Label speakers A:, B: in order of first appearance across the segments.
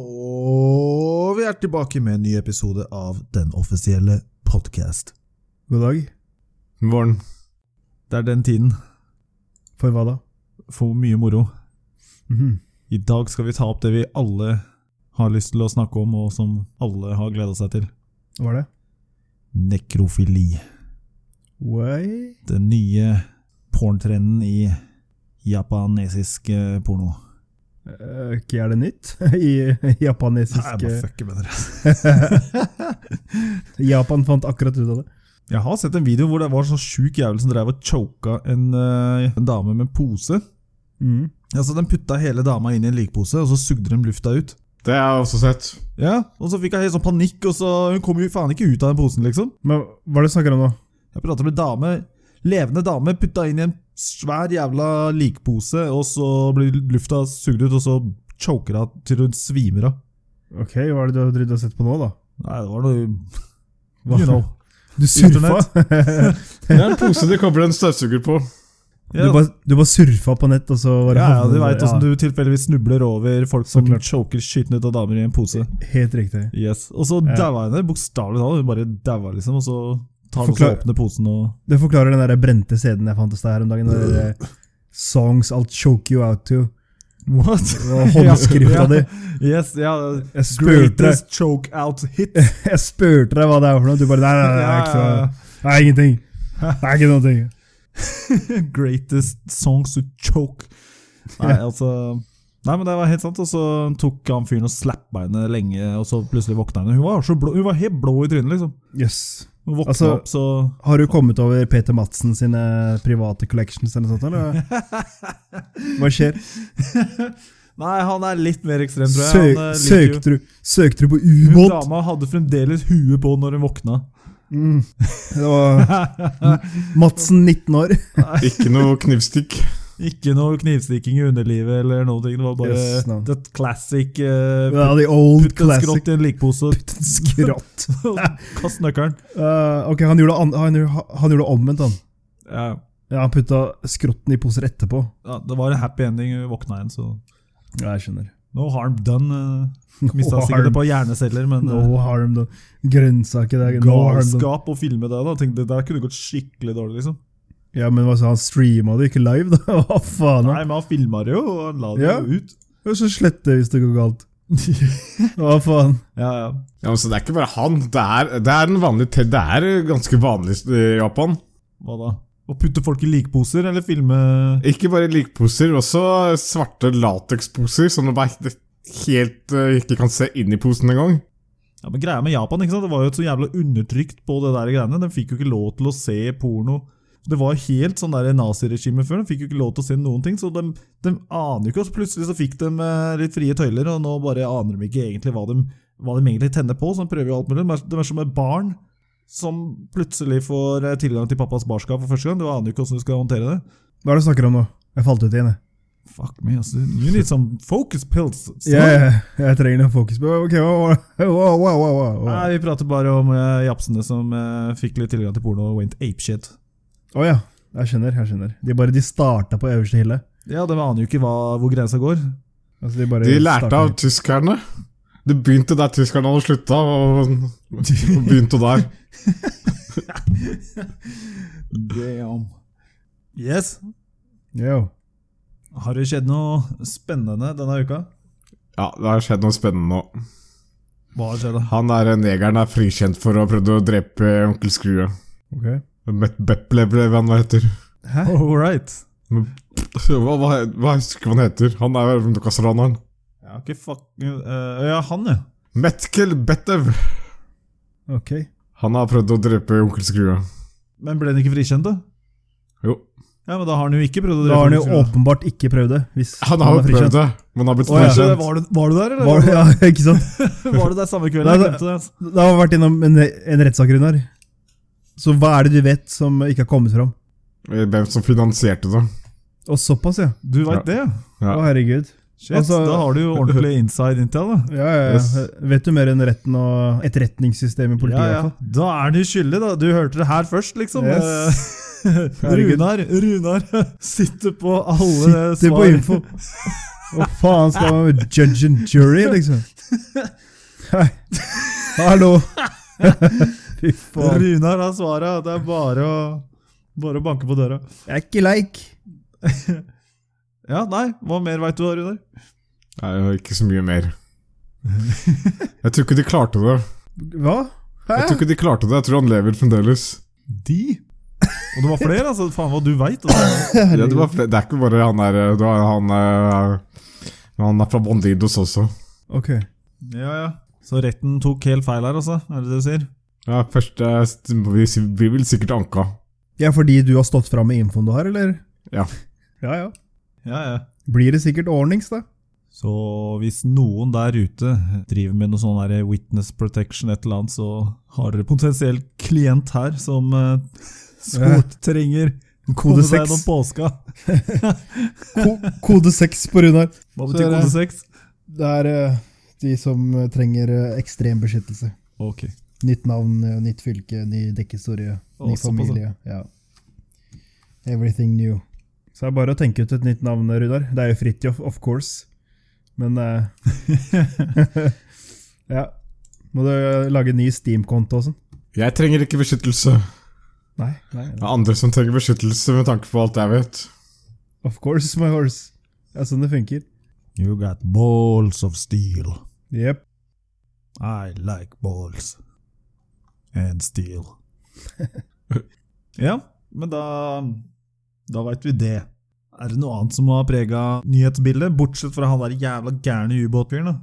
A: Og vi er tilbake med en ny episode av Den offisielle podkast.
B: God dag.
C: Morgen.
A: Det er den tiden
B: For hva da?
A: for mye moro.
B: Mhm.
A: I dag skal vi ta opp det vi alle har lyst til å snakke om, og som alle har gleda seg til.
B: Hva er det?
A: Nekrofili.
B: Why?
A: Den nye porntrenden i japanesisk eh, porno.
B: Eh, Ikke er det nytt? I japanesisk
A: Nei, jeg bare fucker med dere.
B: Japan fant akkurat ut av det.
A: Jeg har sett en video hvor det var en sånn sjuk jævel som drev og choka en, eh, en dame med pose.
B: Mhm.
A: Altså, Den putta hele dama inn i en likpose, og så sugde de lufta ut.
C: Det har jeg også sett.
A: Ja, Og så fikk jeg helt sånn panikk, og så hun kom jo faen ikke ut av den posen, liksom.
B: Men hva er det du snakker om nå?
A: Jeg prater med dame, levende dame, putta inn i en svær jævla likpose, og så blir lufta sugd ut, og så choker hun til hun svimer av.
B: Ok, hva er det du har drevet og sett på nå, da?
A: Nei, det var noe
B: Hva?
A: You know.
B: Du surfa?
C: Det er en pose de kobler en støvsuger på.
B: du,
A: Ja,
B: bare, du bare surfa på nett, og så var det
A: ja, ja, du veit åssen du tilfeldigvis snubler over folk som choker skitten ut av damer i en pose.
B: Helt riktig.
A: Yes, Og så
B: Ja.
A: daua henne, bokstavelig talt. Hun bare daua, liksom. Og så tar hun og så
B: Forklar-
A: åpner posen og
B: Det forklarer den der brente CD-en jeg fant hos deg her om dagen. Den der, eh, Songs I'll choke you out to.
A: What?
B: Og
A: Ja.
B: håndskrifta di.
A: Yes, ja.
B: Jeg spurte deg
A: Greatest choke out hit.
B: Jeg spurte deg hva det er for noe, du bare Nei, nei, nei, det er ikke så- det er ingenting. Det er ikke noen ting.
A: Greatest songs to choke. Nei, altså Nei, men det var helt sant. Og så tok han fyren og slappa henne lenge, og så plutselig våkna hun. Hun var, så blå, hun var helt blå i trynet, liksom.
B: Jøss.
A: Hun våkna
B: Altså-
A: opp, så
B: Har du kommet over Peter Madsen sine private collections eller noe sånt? eller? Hva skjer?
A: Nei, han er litt mer ekstrem, tror jeg.
B: Søk,
A: Han, eh, liker jo-
B: søkte, du, søkte du på
A: Hun
B: ubåt?
A: dama hadde fremdeles huet på når hun våkna.
B: Mm. Det var Madsen, 19 år.
C: Ikke noe knivstikk.
A: Ikke noe knivstikking i underlivet eller noe. ting, Det var bare
B: Yes, no.
A: det classic eh,
B: Ja, the old
A: Putt en skrått
B: classic.
A: i en likpose og
B: Skrått.
A: kast nøkkelen.
B: Eh, ok, han gjorde, an han, gjorde- han gjorde omvendt, han.
A: Ja,
B: Ja, Han putta skrotten i poser etterpå.
A: ja, det var en happy ending. Hun våkna igjen, så
B: Ja, jeg skjønner.
A: No harm done. Mista
B: No
A: sikkert
B: harm.
A: et par hjerneceller, men eh,
B: No harm, da. Grønnsaker det er no harm, da.
A: galskap å filme det da. Tenkte, det der kunne gått skikkelig dårlig, liksom.
B: Ja, men hva sa han? Streama det ikke live, da? Hva faen?
A: Nei, men han filma det jo, og han la det
B: Ja.
A: jo ut.
B: Og så slett det hvis det går galt. Hva faen?
A: Ja, ja.
C: Ja, men så Det er ikke bare han. Det er, det er, en vanlig te det er ganske vanlig i Japan.
A: Hva da? Å putte folk i likposer, eller filme
C: Ikke bare likposer, også svarte lateksposer som du bare helt eh, ikke kan se inn i posen engang.
A: Ja, men Greia med Japan ikke sant? Det var jo et så jævla undertrykt på det der greiene. Den fikk jo ikke lov til å se porno. Det var helt sånn der naziregime før. De fikk jo ikke lov til å se noen ting. Så de, de aner jo ikke. Og så plutselig så fikk de eh, litt frie tøyler, og nå bare aner de ikke egentlig hva de, hva de egentlig tenner på. Så de prøver jo alt mulig. De er- De er som et barn som plutselig får eh, tilgang til pappas barskap for første gang. Du aner jo ikke hvordan du skal håndtere det.
B: Hva er det du snakker om nå? Jeg falt ut igjen, jeg.
A: Fuck me, altså. You need some focus pills. son.
B: Jeg, jeg, jeg trenger noe fokus på Ok, wow, wow, wow, wow, wow.
A: Nei, vi prater bare om eh, japsene som eh, fikk litt tilgang til porno og went apeshit.
B: Å ja. Jeg skjønner. jeg skjønner. De bare de starta på øverste hylle.
A: Ja, de aner jo ikke hva, hvor grensa går.
B: Altså, de, bare
C: De lærte
B: starta-
C: av tyskerne. Det begynte der tyskerne hadde slutta, og, og begynte der.
A: Damn. Yes.
B: Jo.
A: Har det skjedd noe spennende denne uka?
C: Ja, det har skjedd noe spennende nå.
A: Hva har skjedd? da?
C: Han der negeren er frikjent for å ha prøvd å drepe onkel Skrue.
B: Ok.
C: Met Beple ble hva han heter.
B: Hæ?
A: All right.
C: Hva, hva, hva jeg husker hva han heter? Han er Nokas-raneren.
A: Jeg har ikke fuck... eh, ja, han, ja.
C: Metkel Betev.
B: Ok.
C: Han har prøvd å drepe onkel Skrue.
A: Men ble han ikke frikjent, da?
C: Jo.
A: Ja, men Da har han jo ikke prøvd å
B: Da har han jo
A: Skrue.
B: åpenbart ikke prøvd det. Hvis
C: sånn- Han har jo prøvd det, men har blitt
B: Å, ja.
A: Så
C: frikjent.
A: Var, du, var du der, eller?
B: Var,
A: Var,
B: ja, ikke sant?
A: du der samme kveld?
B: Nei,
A: Jeg
B: det-
A: glemte det. altså.
B: Det har vært innom en, en rettssak, Runar. Så hva er det du vet som ikke har kommet fram?
C: Hvem som finansierte det.
B: Og såpass, ja.
A: Du veit det? ja.
C: Ja.
B: Å, herregud.
A: Shit,
B: Altså-
A: Da har du jo ordentlig inside intel, da.
B: Ja, ja, ja.
C: Yes.
B: Vet du mer enn retten og etterretningssystemet i politiet?
A: Ja, ja.
B: i hvert fall?
A: Da er han jo skyldig, da. Du hørte det her først, liksom.
B: Yes.
A: Eh, Runar, Runar sitter på alle
B: Sitter på
A: svar.
B: info. Hva faen skal man med judge and jury, liksom? Hei. Hallo! Fy faen.
A: Runar har svaret. Det er bare å, bare å banke på døra.
B: Jeg er ikke leik.
A: Ja, nei, hva mer veit du da, Runar?
C: Nei, det var ikke så mye mer. Jeg tror ikke de klarte det.
B: Hva? Hæ?
C: Jeg tror ikke de klarte det. Jeg tror han lever fremdeles.
A: De? Og det var flere, altså. Faen hva du veit. Altså.
C: Ja, det, var, fle- det er ikke bare han der eh, Det var han eh, Han er fra Bandidos også.
B: Ok.
A: Ja, ja. Så retten tok helt feil her, altså? Er det det du sier?
C: Ja, først eh, Vi blir vel sikkert anka.
B: Ja, fordi du har stått fram med infoen du har, eller?
C: Ja.
B: Ja, ja.
A: Ja, ja.
B: Blir det sikkert ordnings, da?
A: Så hvis noen der ute driver med noe sånn der witness protection, et eller annet, så har dere potensiell klient her som eh, sårt trenger å komme
B: Kode
A: seg
B: seks.
A: gjennom påska.
B: Ko kode 6 på Runar.
A: Hva
B: Så er
A: betyr
B: det-
A: kode seks?
B: Det er eh, de som eh, trenger eh, ekstrem beskyttelse.
A: Ok.
B: Nytt navn, eh, nytt fylke, ny dekkhistorie,
A: Å,
B: ny
A: såpass,
B: familie. Ja. Everything new. Så det er bare å tenke ut et nytt navn, Rudar. Det er jo Fridtjof, of course. Men eh, Ja. Må du eh, lage en ny Steam-konto og sånn?
C: Jeg trenger ikke beskyttelse.
B: Nei, nei.
C: Det er andre som trenger beskyttelse, med tanke på alt jeg vet.
B: Of course, my horse. Det er sånn det funker.
A: You got balls of steel.
B: Jepp.
A: I like balls. And steel. ja, men da Da veit vi det. Er det noe annet som har prega nyhetsbildet, bortsett fra han der jævla gærne ubåtfyren? da?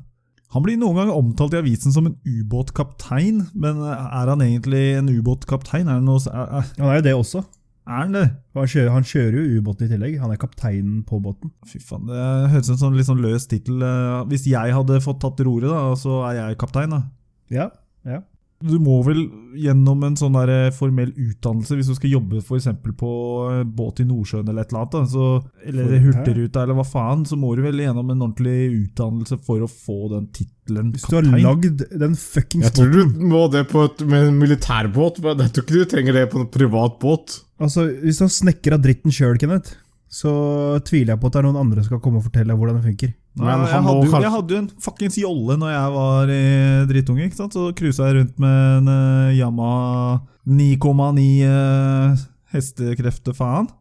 A: Han blir noen ganger omtalt i avisen som en ubåtkaptein, men er han egentlig en ubåtkaptein? Er, han noe, s- er, er-
B: Han er jo det også.
A: er han det?
B: Han kjører, han kjører jo ubåten i tillegg. Han er kapteinen på båten.
A: Fy faen, det høres ut som en litt sånn løs tittel. eh, Hvis jeg hadde fått tatt roret, da, så er jeg kaptein, da.
B: Ja, ja.
A: Du må vel gjennom en sånn der eh, formell utdannelse hvis du skal jobbe for eksempel på eh, båt i Nordsjøen eller et eller annet, da. Så, eller
B: For-
A: Hurtigruta eller hva faen, så må du vel gjennom en ordentlig utdannelse for å få den tittelen
B: Hvis du har lagd den fuckings
C: Jeg tror du må det på et, med en militærbåt, men jeg tror ikke du trenger det på en privat båt.
B: Altså, Hvis du har snekra dritten sjøl, Kenneth, så tviler jeg på at det er noen andre som skal komme og fortelle hvordan det funker.
A: Nei,
C: Men
A: jeg,
C: han må
A: hadde jo,
C: kanskje-
A: jeg hadde jo en fuckings jolle når jeg var eh, drittunge. ikke sant? Så cruisa jeg rundt med en eh, Yamaha 9,9 eh, hestekrefter, faen.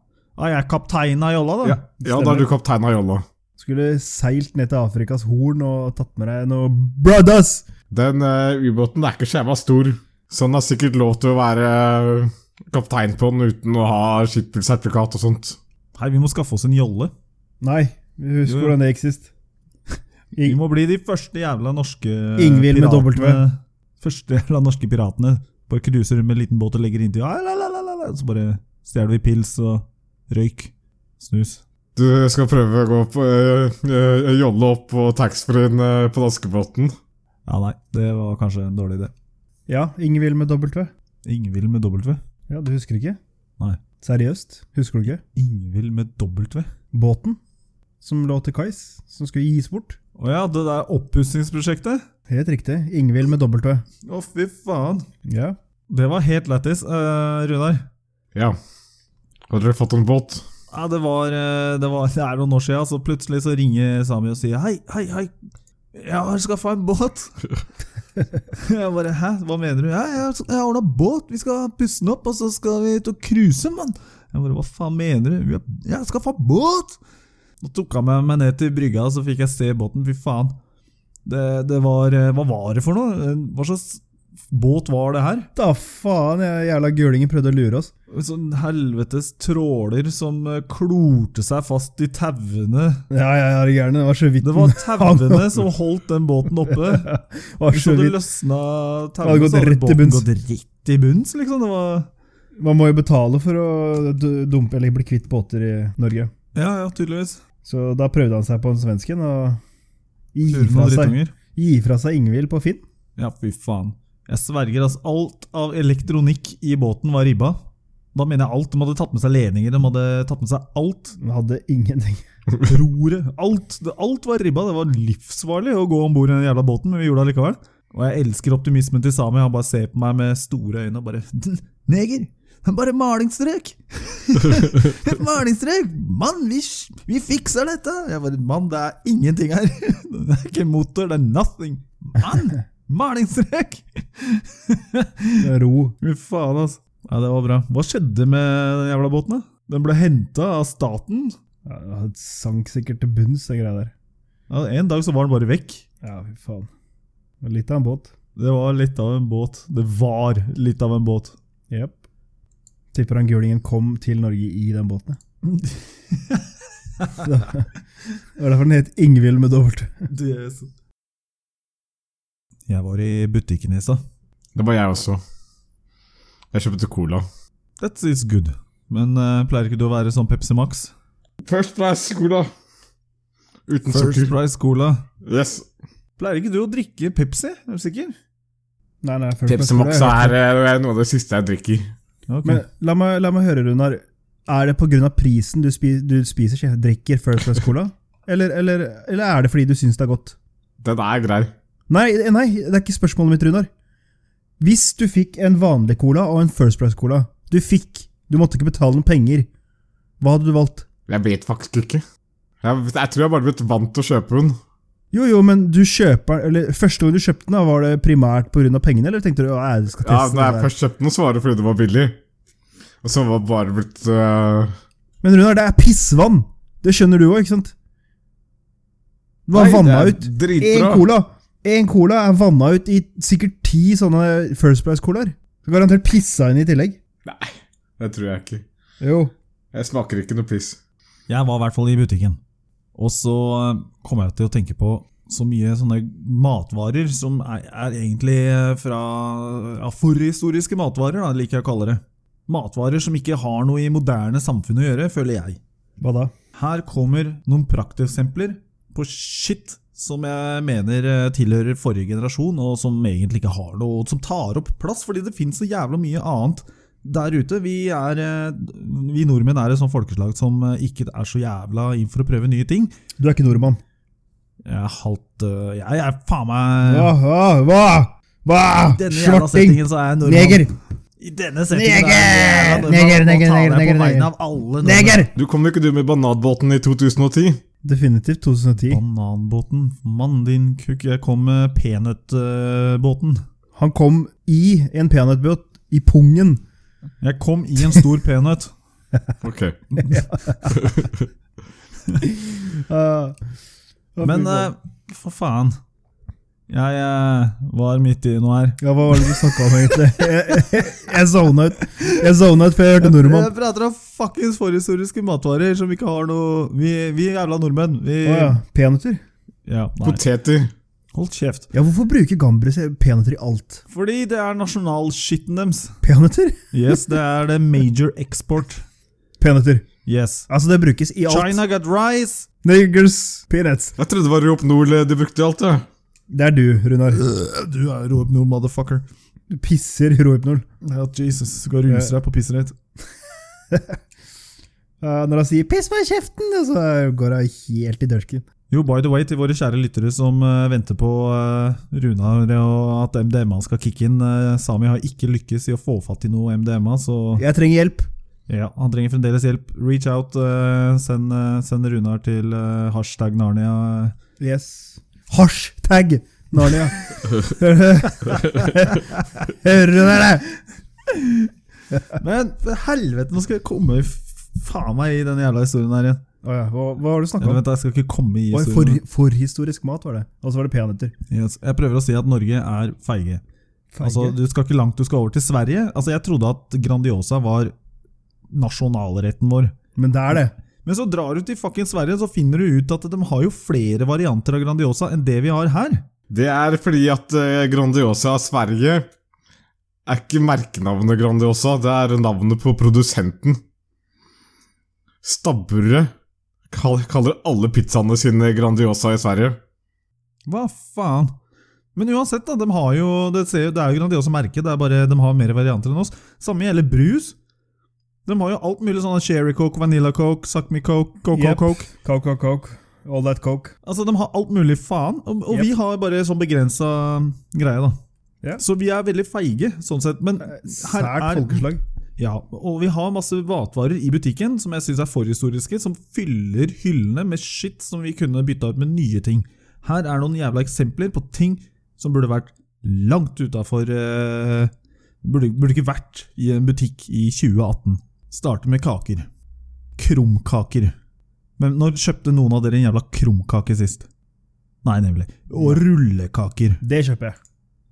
A: Er jeg kaptein av jolla, da?
C: Ja, ja da er du kaptein av jolla.
B: Skulle seilt ned til Afrikas Horn og tatt med deg noe Brothers!
C: Den eh, ubåten er ikke så jævla stor, så han har sikkert lov til å være eh, kaptein på den uten å ha skippersertifikat og sånt.
A: Hei, vi må skaffe oss en jolle.
B: Nei, vi
A: Jo,
B: husker
A: jo.
B: hvordan det gikk sist.
A: Vi
B: Ing-
A: må bli de første jævla norske
B: Ingvild med dobbelt V.
A: Første jævla norske piratene. Bare cruiser rundt med en liten båt og legger inntil ah, la, la, la, la, la, Så bare stjeler vi pils og røyk. Snus.
C: Du skal prøve å gå på eh, eh, jolle opp på taxfree-en eh, på danskebåten.
A: Ja, nei, det var kanskje en dårlig idé.
B: Ja, Ingvild med dobbelt V.
A: Ingvild med dobbelt V.
B: Ja, du husker ikke?
A: Nei.
B: Seriøst? Husker du ikke?
A: Ingvild med dobbelt V?
B: Båten som lå til kais, som skulle gis bort.
A: Å ja, det der oppussingsprosjektet?
B: Helt riktig. Ingvild med dobbelt V.
A: Å, fy faen.
B: Ja.
A: Det var helt lættis, eh, Runar.
C: Ja. Har dere fått en båt?
A: Ja, det var, eh, det var Det er noen år siden, så plutselig så ringer Sami og sier Hei, hei, hei, jeg har skaffa en båt. jeg bare Hæ, hva mener du? Ja, jeg har- jeg har ordna båt, vi skal pusse den opp, og så skal vi ut og cruise, mann. Jeg bare Hva faen mener du? Vi har- Jeg har skaffa båt! Nå tok han meg- meg ned til brygga, og så fikk jeg se båten. Fy faen. Det, det var eh, Hva var det for noe? Eh, Hva slags båt var det her?
B: Da faen, jeg jævla gulingen prøvde å lure oss.
A: En sånn helvetes tråler som eh, klorte seg fast i tauene.
B: Ja, ja, ja, det gjerne. Det var så vidt
A: Det var tauene som holdt den båten oppe.
B: den- var
A: Hvis du
B: så
A: hadde
B: vidt.
A: løsna
B: Det hadde
A: tauene,
B: gått
A: så hadde
B: rett i
A: båten
B: bunns.
A: gått rett i bunns. liksom. Det var...
B: Man må jo betale for å du- dumpe eller bli kvitt båter i Norge.
A: Ja, ja, tydeligvis.
B: Så da prøvde han seg på en svensken og gi
A: Turen
B: fra
A: og
B: seg,
A: drittunger.
B: gi fra seg Ingvild på Finn.
A: Ja, fy faen. Jeg sverger, altså. Alt av elektronikk i båten var ribba. Da mener jeg alt. De hadde tatt med seg ledninger, de hadde tatt med seg alt.
B: Han hadde ingenting.
A: Roret. Alt. Det, alt var ribba. Det var livsfarlig å gå om bord i den jævla båten, men vi gjorde det allikevel. Og jeg elsker optimismen til Sami. Han bare ser på meg med store øyne og bare Neger! Bare malingsstrek! Et malingsstrek! Mann, vi, s- vi fikser dette! Jeg bare, Mann, det er ingenting her! Det er ikke motor, det er nothing! Mann! Malingsstrek!
B: Ro.
A: Fy faen, altså. Ja, det var bra. Hva skjedde med den jævla båten, da? Den ble henta av staten.
B: Ja, det sank sikkert til bunns, det greia der.
A: Ja, en dag så var den bare vekk.
B: Ja, fy faen. Det var Litt av en båt.
A: Det var litt av en båt. Det var litt av en båt.
B: Jepp. Tipper han gulingen kom til Norge i den båten. ja. Det var derfor den het Ingvild med dobbelt.
A: Jeg var i butikken i stad.
C: Det var jeg også. Jeg kjøpte cola.
A: That is good. Men eh, pleier ikke du å være sånn Pepsi Max?
C: First price cola. Uten
A: First
C: sukker.
A: Price Cola.
C: Yes.
A: Pleier ikke du å drikke Pepsi? Er du sikker?
B: Nei, nei, først-
C: Pepsi Max
B: Jeg
C: er
B: hørte-
C: eh, noe av det siste jeg drikker.
A: Ok.
B: Men la meg, la meg høre, Runar. Er det pga. prisen du, spi, du spiser, ikke drikker First Class Cola? Eller, eller, eller er det fordi du syns det er godt?
C: Den er grei.
B: Nei, nei, det er ikke spørsmålet mitt, Runar. Hvis du fikk en vanlig cola og en First Price Cola Du fikk, du måtte ikke betale noen penger. Hva hadde du valgt?
C: Jeg vet faktisk ikke. Jeg, jeg tror jeg bare blitt vant til å kjøpe den.
B: Jo, jo, men du kjøper eller Første gang du kjøpte den, da, var det primært pga. pengene? Eller tenkte du at jeg skal
C: Ja,
B: teste
C: Når jeg
B: det der?
C: først kjøpte den, så var det fordi det var billig. Og så var det bare blitt øh,
B: Men Runar, det er pissvann! Det skjønner du òg, ikke sant? Den var
C: nei,
B: vanna
C: det er
B: ut. Én
C: Dritbra.
B: cola En cola er vanna ut i sikkert ti sånne First Price-colaer. Garantert pissa inn i tillegg.
C: Nei, det tror jeg ikke.
B: Jo.
C: Jeg smaker ikke noe piss.
A: Jeg var i hvert fall i butikken. Og så eh, kom jeg til å tenke på så mye sånne matvarer som er, er egentlig eh, fra ja, forhistoriske matvarer, da, liker jeg å kalle det. Matvarer som ikke har noe i moderne samfunn å gjøre, føler jeg.
B: Hva da?
A: Her kommer noen prakteksempler på shit som jeg mener eh, tilhører forrige generasjon, og som egentlig ikke har noe, og som tar opp plass, fordi det finnes så jævla mye annet der ute. Vi, er, eh, vi nordmenn er et sånt folkeslag som eh, ikke er så jævla inn for å prøve nye ting.
B: Du er ikke nordmann.
A: Jeg er halvt eh, Jeg er faen meg
B: Hva? Hva? Hva? Hva?
A: Denne jævla
B: Svarting!
A: settingen så er jeg nordmann.
B: Neger!
A: I denne settingen er jeg
B: Neger!
A: nordmann.
B: Neger, neger,
A: Nå taler jeg
B: neger,
A: på
B: neger.
A: vegne av alle nordmenn.
B: Neger!
C: Du kom jo ikke du med bananbåten i 2010?
B: Definitivt 2010.
A: Bananbåten. Mann din kukk, jeg kom med peanøttbåten.
B: Han kom i en peanøttbåt i pungen.
A: Jeg kom i en stor peanøtt.
C: Ok.
B: Ah.
A: Men eh, for faen. Jeg eh, var midt i noe her.
B: ja, Hva var det du snakka om, egentlig? Jeg- Jeg zona ut Jeg zona ut før jeg hørte nordmann.
A: Jeg prater om fuckings forhistoriske matvarer som ikke har noe Vi, vi jævla nordmenn. Vi,
B: Å ja. Peanøtter?
A: ja, nei.
C: Poteter.
A: Hold kjeft.
B: Ja, hvorfor bruker Gambres peanøtter i alt?
A: Fordi det er nasjonalskitten deres.
B: Peanøtter?
A: Yes, det er det major export.
B: Peanøtter.
A: Yes.
B: Altså, det brukes i alt.
A: China got rice.
B: Niggers peanuts.
C: Jeg trodde det var Rop Nord eh, de brukte i alt, jeg.
B: Det er du, Runar.
A: Du er Roep Nord, motherfucker.
B: Du pisser Rohypnol.
A: Ja, Jesus, du skal ruse deg på pisserett.
B: Uh, når han sier 'piss meg i kjeften', og så går hun helt i dørsken.
A: Jo, by the way, til våre kjære lyttere som eh, venter på eh, Runar og at MDMA skal kicke inn. eh, Sami har ikke lykkes i å få fatt i noe MDMA, så
B: Jeg trenger hjelp.
A: ja, han trenger fremdeles hjelp. Reach out. eh, send, eh, send Runar til eh, hashtag Narnia.
B: Yes. Hashtag Narnia. Hører du det?
A: Men for helvete, nå skal jeg komme i f- faen meg i den jævla historien her igjen.
B: Å ja, hva, hva var det du snakka
A: Eller
B: om?
A: vent, da, jeg skal ikke komme i
B: Det var
A: historien.
B: for, forhistorisk mat, var det. Og så var det peanøtter.
A: Yes. Jeg prøver å si at Norge er feige. Altså,
B: Feige.
A: du skal ikke langt, du skal over til Sverige. Altså, Jeg trodde at Grandiosa var nasjonalretten vår.
B: Men det er det.
A: Men så drar du til fucking Sverige, så finner du ut at de har jo flere varianter av Grandiosa enn det vi har her.
C: Det er fordi at eh, Grandiosa av Sverige er ikke merkenavnet Grandiosa, det er navnet på produsenten. Stabburet kall- kaller alle pizzaene sine Grandiosa i Sverige.
A: Hva faen? Men uansett, da, de har jo, det, ser, det er jo Grandiosa-merket, det er bare de har mer varianter enn oss. Samme gjelder brus. De har jo alt mulig sånn cherry coke, vanilla coke, suck me coke, coco
B: Yep.
A: coke.
B: Coke, coke, coke. All that coke.
A: Altså, de har alt mulig faen, og, og
B: Yep.
A: vi har bare sånn begrensa greie, da.
B: Ja. Eh,
A: Så vi er veldig feige, sånn sett. Men her
B: Sært
A: er
B: folkeslag.
A: Ja, og vi har masse matvarer i butikken som jeg syns er forhistoriske, som fyller hyllene med shit som vi kunne bytta ut med nye ting. Her er noen jævla eksempler på ting som burde vært langt utafor eh, burde, burde ikke vært i en butikk i 2018. Starter med kaker. Krumkaker. Men når kjøpte noen av dere en jævla krumkake sist? Nei, nemlig. Og rullekaker.
B: Det kjøper jeg.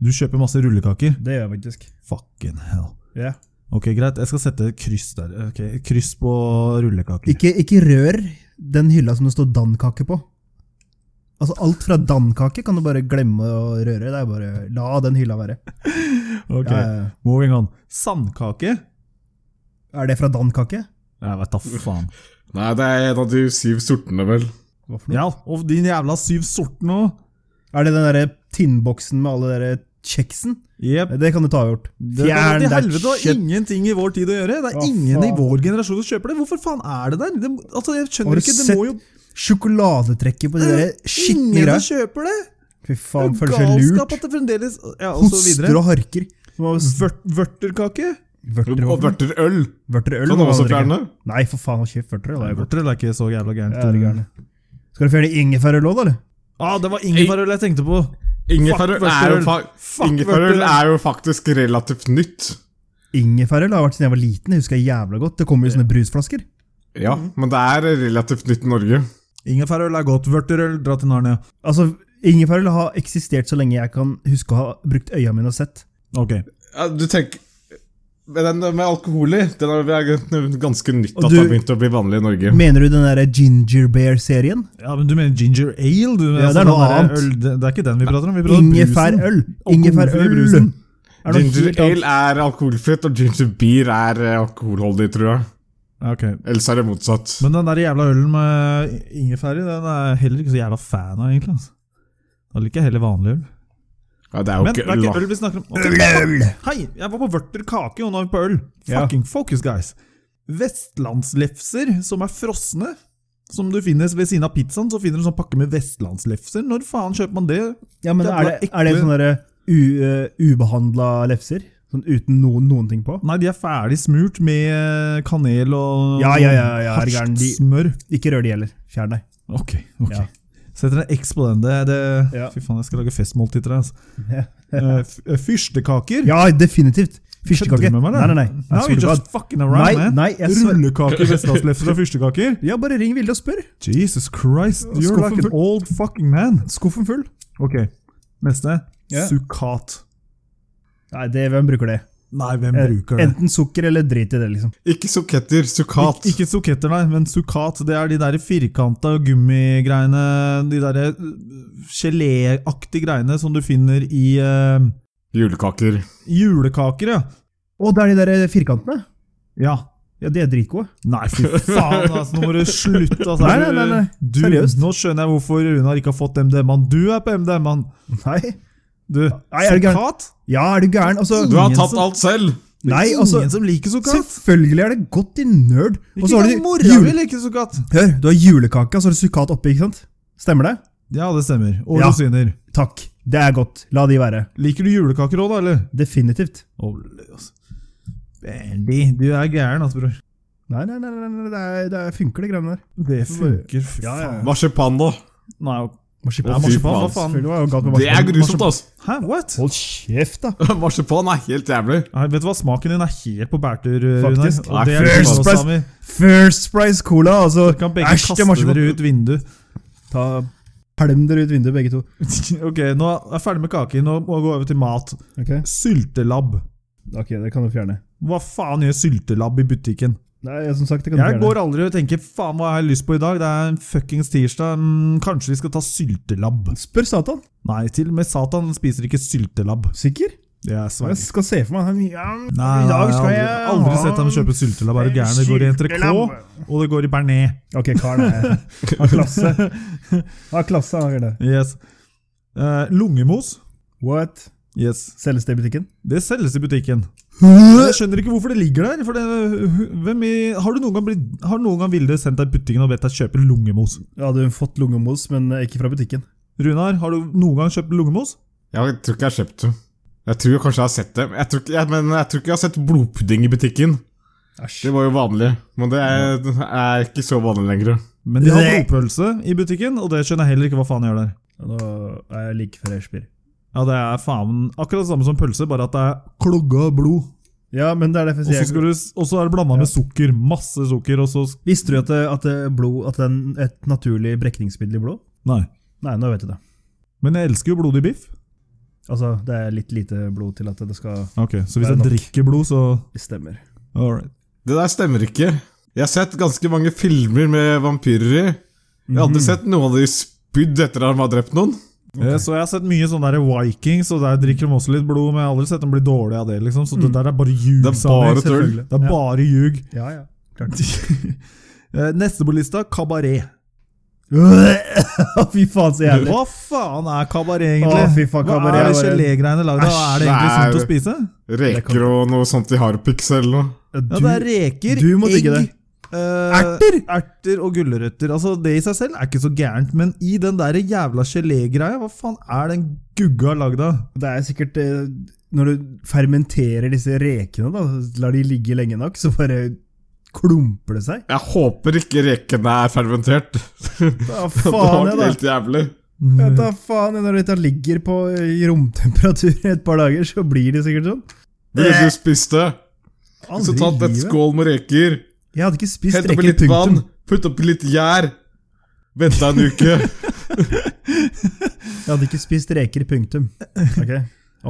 A: Du kjøper masse rullekaker.
B: Det gjør jeg faktisk.
A: Fucking hell.
B: Ja.
A: Ok, greit. Jeg skal sette et kryss der. Ok, et Kryss på rullekaker.
B: Ikke, ikke rør den hylla som det står Dan-kake på. Altså Alt fra Dan-kake kan du bare glemme å røre. Det er bare, La den hylla være.
A: Ok,
B: Ja, ja, ja.
A: Moving on. Sandkake?
B: er det fra Dan-kake?
A: Jeg vet da faen.
C: Nei, det er en av de syv sortene, vel.
B: Hva for noe?
A: Ja, og din jævla syv sortene òg.
B: Er det den derre tinnboksen med alle derre kjeksen?
A: Jepp.
B: Det kan du ta avgjort.
A: Det er til helvete og
B: shit.
A: ingenting i vår tid å gjøre. Det er
B: Hva
A: ingen i
B: faen?
A: vår generasjon som kjøper det. Hvorfor faen er det der? Det, altså, jeg
B: Har
A: skjønner
B: du
A: ikke. Det
B: sett
A: må jo
B: Sjokoladetrekket på de derre skitne
A: Ingen
B: greia.
A: som kjøper det!
B: Fy faen,
A: det er
B: føler
A: jo
B: seg
A: galskap
B: lurt.
A: at det fremdeles Ja, og så
B: Hoster
A: videre.
B: og harker. Som har s-
A: Vørt, vørterkake?
B: Vørter
C: Og
B: og
C: vørterøl
B: vørterøl.
C: kan
B: må man
C: også
B: drikke.
C: fjerne.
B: Nei, for faen, hold kjeft. Vørterøl er jo godt.
A: Vørterøl er ikke så jævla gærent.
B: Ja, det er gærent. Skal du fjerne ingefærøl òg, da? eller?
A: Ah, det var ingefærøl jeg tenkte på!
C: Ingefærøl
A: Fuck
C: er, jo
A: vørterøl.
C: fa-
A: Fuck
C: ingefærøl
A: vørterøl.
C: er jo faktisk relativt nytt.
B: Ingefærøl har vært siden jeg var liten. Jeg husker jeg jævla godt. Det kommer i sånne brusflasker.
C: Ja, men det er relativt nytt i Norge.
A: Ingefærøl er godt. Vørterøl, dra til Narnia.
B: Altså, Ingefærøl har eksistert så lenge jeg kan huske å ha brukt øya mine og sett.
A: Ok.
C: Ja, du tenker men den med alkohol i, den er er ganske nytt
B: Og
C: at
B: du-
C: det har begynt å bli vanlig i Norge.
B: Mener du den derre Ginger Bear-serien?
A: Ja, men Du mener ginger ale? Du, Altså,
B: Ja, det er
A: den
B: noe
A: der
B: annet.
A: Øl, det, det er ikke den vi prater om. vi prater om brusen.
B: Ingefærøl!
A: Alkoholfri
B: Ingefærøl!
A: brusen.
B: Er det noe
C: Ginger
B: helt annet?
C: ale er alkoholfritt, og ginger beer er eh, alkoholholdig, tror jeg.
A: Ja, Ok.
C: Ellers er det motsatt.
A: Men den der jævla ølen med ingefær i, den er jeg heller ikke så jævla fan av, egentlig. altså. Da liker jeg heller vanlig øl.
C: Ja, det er jo
A: Men det
C: ikke
A: er
C: øl,
A: ikke
C: da.
A: øl vi snakker om. Ok,
B: Øl!
A: Hei, jeg var på vørter kake, og nå er vi på øl.
B: Ja.
A: Fucking focus, guys. Vestlandslefser som er frosne, som du finner ved siden av pizzaen, så finner du en sånn pakke med vestlandslefser. Når faen kjøper man det?
B: Ja, men
A: Det
B: er
A: var
B: det, er det
A: ekle-
B: sånne derre u- eh, ubehandla lefser? Sånn uten noen, noen ting på?
A: Nei, de er ferdig smurt med eh, kanel og sånn
B: Ja, ja, ja, ja, er det gæren, de-
A: harskt smør.
B: Ikke rør de heller. Fjern deg.
A: Ok, ok.
B: Ja.
A: Setter en X på den. Det, er det,
B: Ja.
A: Fy faen, jeg skal lage festmåltid til deg. Altså.
B: Ja.
A: Eh, f- eh, fyrstekaker.
B: Ja, definitivt! Fyrstekake.
A: Kødder du
B: Nei,
A: med meg, da?
B: nei, nei.
A: Now
B: Nei,
A: you're just fucking around,
B: Nei,
A: man.
B: nei, jeg sver-
A: Rullekaker, vestlandslefser og fyrstekaker.
B: Ja, bare ring Vilde og spør.
A: Jesus Christ, you're
B: Skuffen
A: like an
B: full.
A: old fucking man.
B: Skuffen full.
A: Ok, neste.
B: Ja.
A: Sukkat.
B: Nei, det, hvem bruker det?
A: Nei, hvem
B: Eh,
A: bruker det?
B: Enten sukker eller drit i det, liksom.
C: Ikke suketter, sukkat.
A: Ik ikke suketter, nei, men sukkat. Det er de der firkanta gummigreiene, de der eh, geléaktige greiene som du finner i eh,
C: Julekaker.
A: julekaker, ja.
B: Å, det er de der eh, firkantene?
A: Ja.
B: Ja, de er dritgode.
A: Nei, fy faen, altså, nå må du slutte. Altså.
B: Nei, nei, nei, nei.
A: Du,
B: Seriøst.
A: Nå skjønner jeg hvorfor Runar ikke har fått MDMA-en. Du er på MDMA-en!
B: Nei.
A: Du,
B: Nei, er det gærent?
A: sukkat?
B: Ja, er du gæren? Altså,
C: Du har
A: Ingen
C: tatt
A: som-
C: alt selv!
B: nei,
A: Ingen
B: altså,
A: som liker sukkat?
B: selvfølgelig er det godt i nerd. Og
A: Ikke
B: så har du
A: engang mora mi
B: jule...
A: liker sukkat!
B: Hør, du har julekake, og så har du sukkat oppi, ikke sant? Stemmer det?
A: Ja, det stemmer. Og
B: Ja.
A: rosiner.
B: Takk. Det er godt. La de være.
A: Liker du julekaker òg, da, eller?
B: Definitivt.
A: Ole, altså. Bendy, du er gæren, altså, bror.
B: Nei, nei, nei, nei, nei det, er, det er, funker, de greiene der.
A: Det funker, fy
B: Ja, ja.
A: faen.
C: Marsipan, da.
A: Nei, og-
B: Marsipan.
A: ja,
C: Å, fy
A: marsipan, hva
C: faen.
A: faen?
B: Selvfølgelig var det galt med
C: Det er
B: marsipan.
C: grusomt, altså.
A: Hæ, what?
B: Hold kjeft, da.
C: Marsipan er helt jævlig.
A: Nei, vet du hva, smaken din er helt på bærtur, eh, Runar.
B: Faktisk.
A: Og det er
C: Nei,
A: det
B: first
A: også,
B: price.
A: Sami.
B: First Price Cola, altså.
A: Dere kan begge
B: Æsj, det er
A: kaste
B: marsipan.
A: dere ut vinduet.
B: Ta Pælm dere ut vinduet, begge to.
A: Ok, nå er jeg ferdig med kake. Nå må jeg gå over til mat.
B: Ok,
A: Syltelabb.
B: ok, det kan du fjerne.
A: Hva faen gjør syltelabb i butikken?
B: Nei, som sagt, det kan du
A: Jeg
B: fjerne.
A: går aldri og tenker 'faen, hva har jeg lyst på i dag'? Det er en fuckings tirsdag. Mm, Kanskje vi skal ta syltelabb?
B: Spør Satan.
A: Nei, til og med Satan spiser ikke syltelabb.
B: Sikker?
A: Det er
B: Jeg
A: sverre.
B: skal se for meg han ja,
A: Nei, nei, jeg har aldri, aldri sett ham kjøpe syltelabb. Er du gæren? Det går i entrecôte, og det går i bearnés.
B: Ok, karen er Har klasse. Har klasse, han gjør det.
A: Yes. Eh, lungemos.
B: What?
A: Yes.
B: Selges det i butikken?
A: Det selges i butikken. Men Jeg
B: Nei,
A: skjønner ikke hvorfor det ligger der. For det, hvem i, har du noen gang, blitt, har noen gang Vilde sendt deg i butikken og bedt deg kjøpe lungemos?
B: Jeg hadde jo fått lungemos, men ikke fra butikken.
A: Runar, har du noen gang kjøpt lungemos?
C: Jeg tror ikke jeg har kjøpt det. Jeg tror kanskje jeg har sett det. Jeg tror ikke, jeg, men jeg tror ikke jeg har sett blodpudding i butikken.
B: Æsj.
C: Det var jo vanlig, men det er, det er ikke så vanlig lenger.
A: Men de har
B: Nei.
A: blodpølse i butikken, og det skjønner jeg heller ikke hva faen de gjør der.
B: Ja, Da er jeg like før jeg spyr.
A: Ja, det er faen akkurat det samme som pølse, bare at det er klogga blod.
B: Ja, men det er derfor
A: Og så
B: jeg sier
A: skal du s- og så er det blanda med sukker. Masse sukker, og så sk-
B: Visste du at, det- at, det blod, at det er et naturlig brekningsmiddel i blod?
A: Nei.
B: Nei, nå vet du det.
A: Men jeg elsker jo blodig biff.
B: Altså, det er litt lite blod til at det skal
A: Ok, Så
B: Det
A: hvis
B: er
A: jeg
B: nok.
A: drikker blod, så
B: Det stemmer.
A: All right.
C: Det der stemmer ikke. Jeg har sett ganske mange filmer med vampyrer i. Jeg
B: Mhm.
C: har aldri sett noen av de spydd etter at de har drept noen.
A: Eh, Så jeg har sett mye sånne der Vikings, og der drikker de også litt blod, men jeg har aldri sett dem bli dårlige av det, liksom. Så
B: Mm.
A: det der er bare ljug.
C: Det er
A: Sander.
C: bare tull.
B: Selvfølgelig.
A: Det er bare ljug.
B: Ja, ja.
A: Eh, Neste på lista kabaret.
B: Klart. fy faen, så jævlig.
A: Hva faen er kabaret,
B: Å,
A: egentlig?
B: fy faen,
A: Hva
B: kabaret
A: er det
B: er bare-
A: gelégreiene lagd av?
C: Æsj,
A: Er det egentlig
C: det er-
A: sunt å spise?
B: kan
C: Reker og noe sånt i harpiks eller noe.
A: Ja, det er reker,
B: du må
A: egg,
B: digge det.
A: eh,
B: Erter!
A: erter og gulrøtter. Altså, det i seg selv er ikke så gærent, men i den der jævla gelégreia, hva faen er den gugga lagd av?
B: Det er sikkert eh, Når du fermenterer disse rekene, da, lar de ligge lenge nok, så bare klumper det seg.
C: Jeg håper ikke rekene er fermentert.
B: Da
C: Det
B: faen,
C: var
B: jeg, da.
C: helt jævlig.
B: Ja, da faen, jeg, når dette ligger på eh, i romtemperatur i et par dager, så blir det sikkert sånn.
C: Ville du spist det? Så
B: Aldri i
C: tatt et
B: livet.
C: skål med reker,
B: Jeg hadde ikke spist
C: hent oppi
B: reker,
C: litt vann,
B: punktum.
C: putt oppi litt gjær. Venta en uke.
B: Jeg hadde ikke spist reker, punktum. Ok?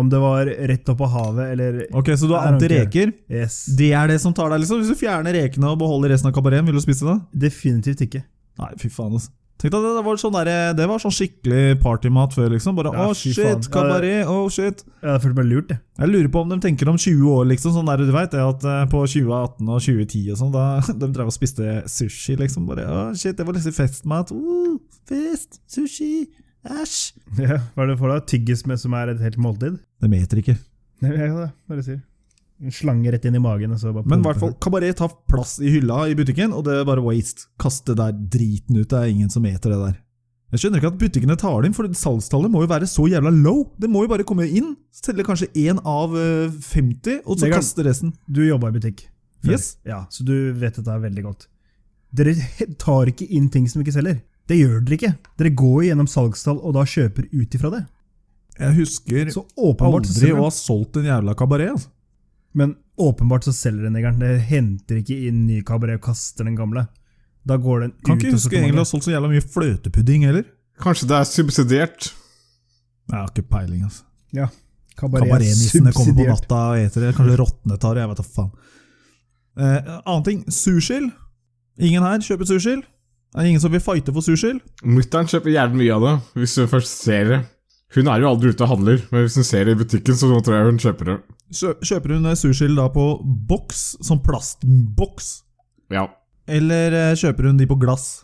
B: Om det var rett opp av havet, eller
A: Ok, Så du er
B: Er det
A: anti-reker?
B: Yes.
A: Det er det som tar deg, liksom? Hvis du fjerner rekene og beholder resten av kabareten, vil du spise det?
B: Definitivt ikke.
A: Nei, fy faen, altså. Tenk deg, det, det, var sånn der, det var sånn skikkelig partymat før, liksom. Bare
B: Ja,
A: å,
B: fy
A: shit,
B: faen. Ja,
A: kabaret, å, shit.
B: Jeg hadde følt meg lurt, jeg.
A: Jeg lurer på om de tenker om 20 år, liksom. Sånn der, du vet, det at eh, På 2018 og 2010 og sånn, da de drev og spiste sushi, liksom. Bare å, shit, det var liksom festmat. Uh, fest, sushi, æsj.
B: Ja, hva er det for deg? Tyggis med som er et helt måltid?
A: De eter ikke.
B: Nei, jeg, det, hva er det jeg sier? En slange rett inn i magen, og så
A: Men
B: bare
A: i
B: pumpe
A: hvert fall, kabaret tar plass i hylla i butikken, og det er bare waste. Kaste der driten ut, det er ingen som eter det der. Jeg skjønner ikke at butikkene tar det inn, for salgstallet må jo være så jævla low. Det må jo bare komme inn, selge kanskje én av eh, 50, og så
B: Vegard.
A: kaste resten.
B: seg. Du jobba i butikk. før.
A: Yes.
B: Ja, Så du vet dette her veldig godt. Dere tar ikke inn ting som ikke selger. Det gjør dere ikke. Dere går gjennom salgstall og da kjøper ut ifra det.
A: Jeg husker
B: Så åpenbart så
A: aldri
B: selger
A: å
B: de.
A: ha solgt en jævla kabaret. Altså.
B: Men åpenbart så selger den negeren. Dere henter ikke inn ny kabaret og kaster den gamle. Da går den
A: Kan
B: ut
A: ikke
B: og så
A: huske
B: kommer
A: egentlig å
B: den-
A: ha solgt så jævla mye fløtepudding heller.
C: Kanskje det er subsidiert.
A: Jeg har ikke peiling, altså.
B: Ja. Kabaret, er
A: Kabaretnissene kommer på
B: subsidiert.
A: natta og eter det. Kanskje rottene tar det, jeg vet da faen. Eh, annen ting, sushill. Ingen her kjøper sushill. Er det ingen som vil fighte for sushill?
C: Mutter'n kjøper jævlig mye av det, hvis hun først ser det. Hun er jo aldri ute og handler, men hvis hun ser det i butikken, så tror jeg hun kjøper det.
A: Kjø- Kjøper hun eh, sushill da på boks, som plastboks?
C: Ja.
A: Eller eh, kjøper hun de på glass?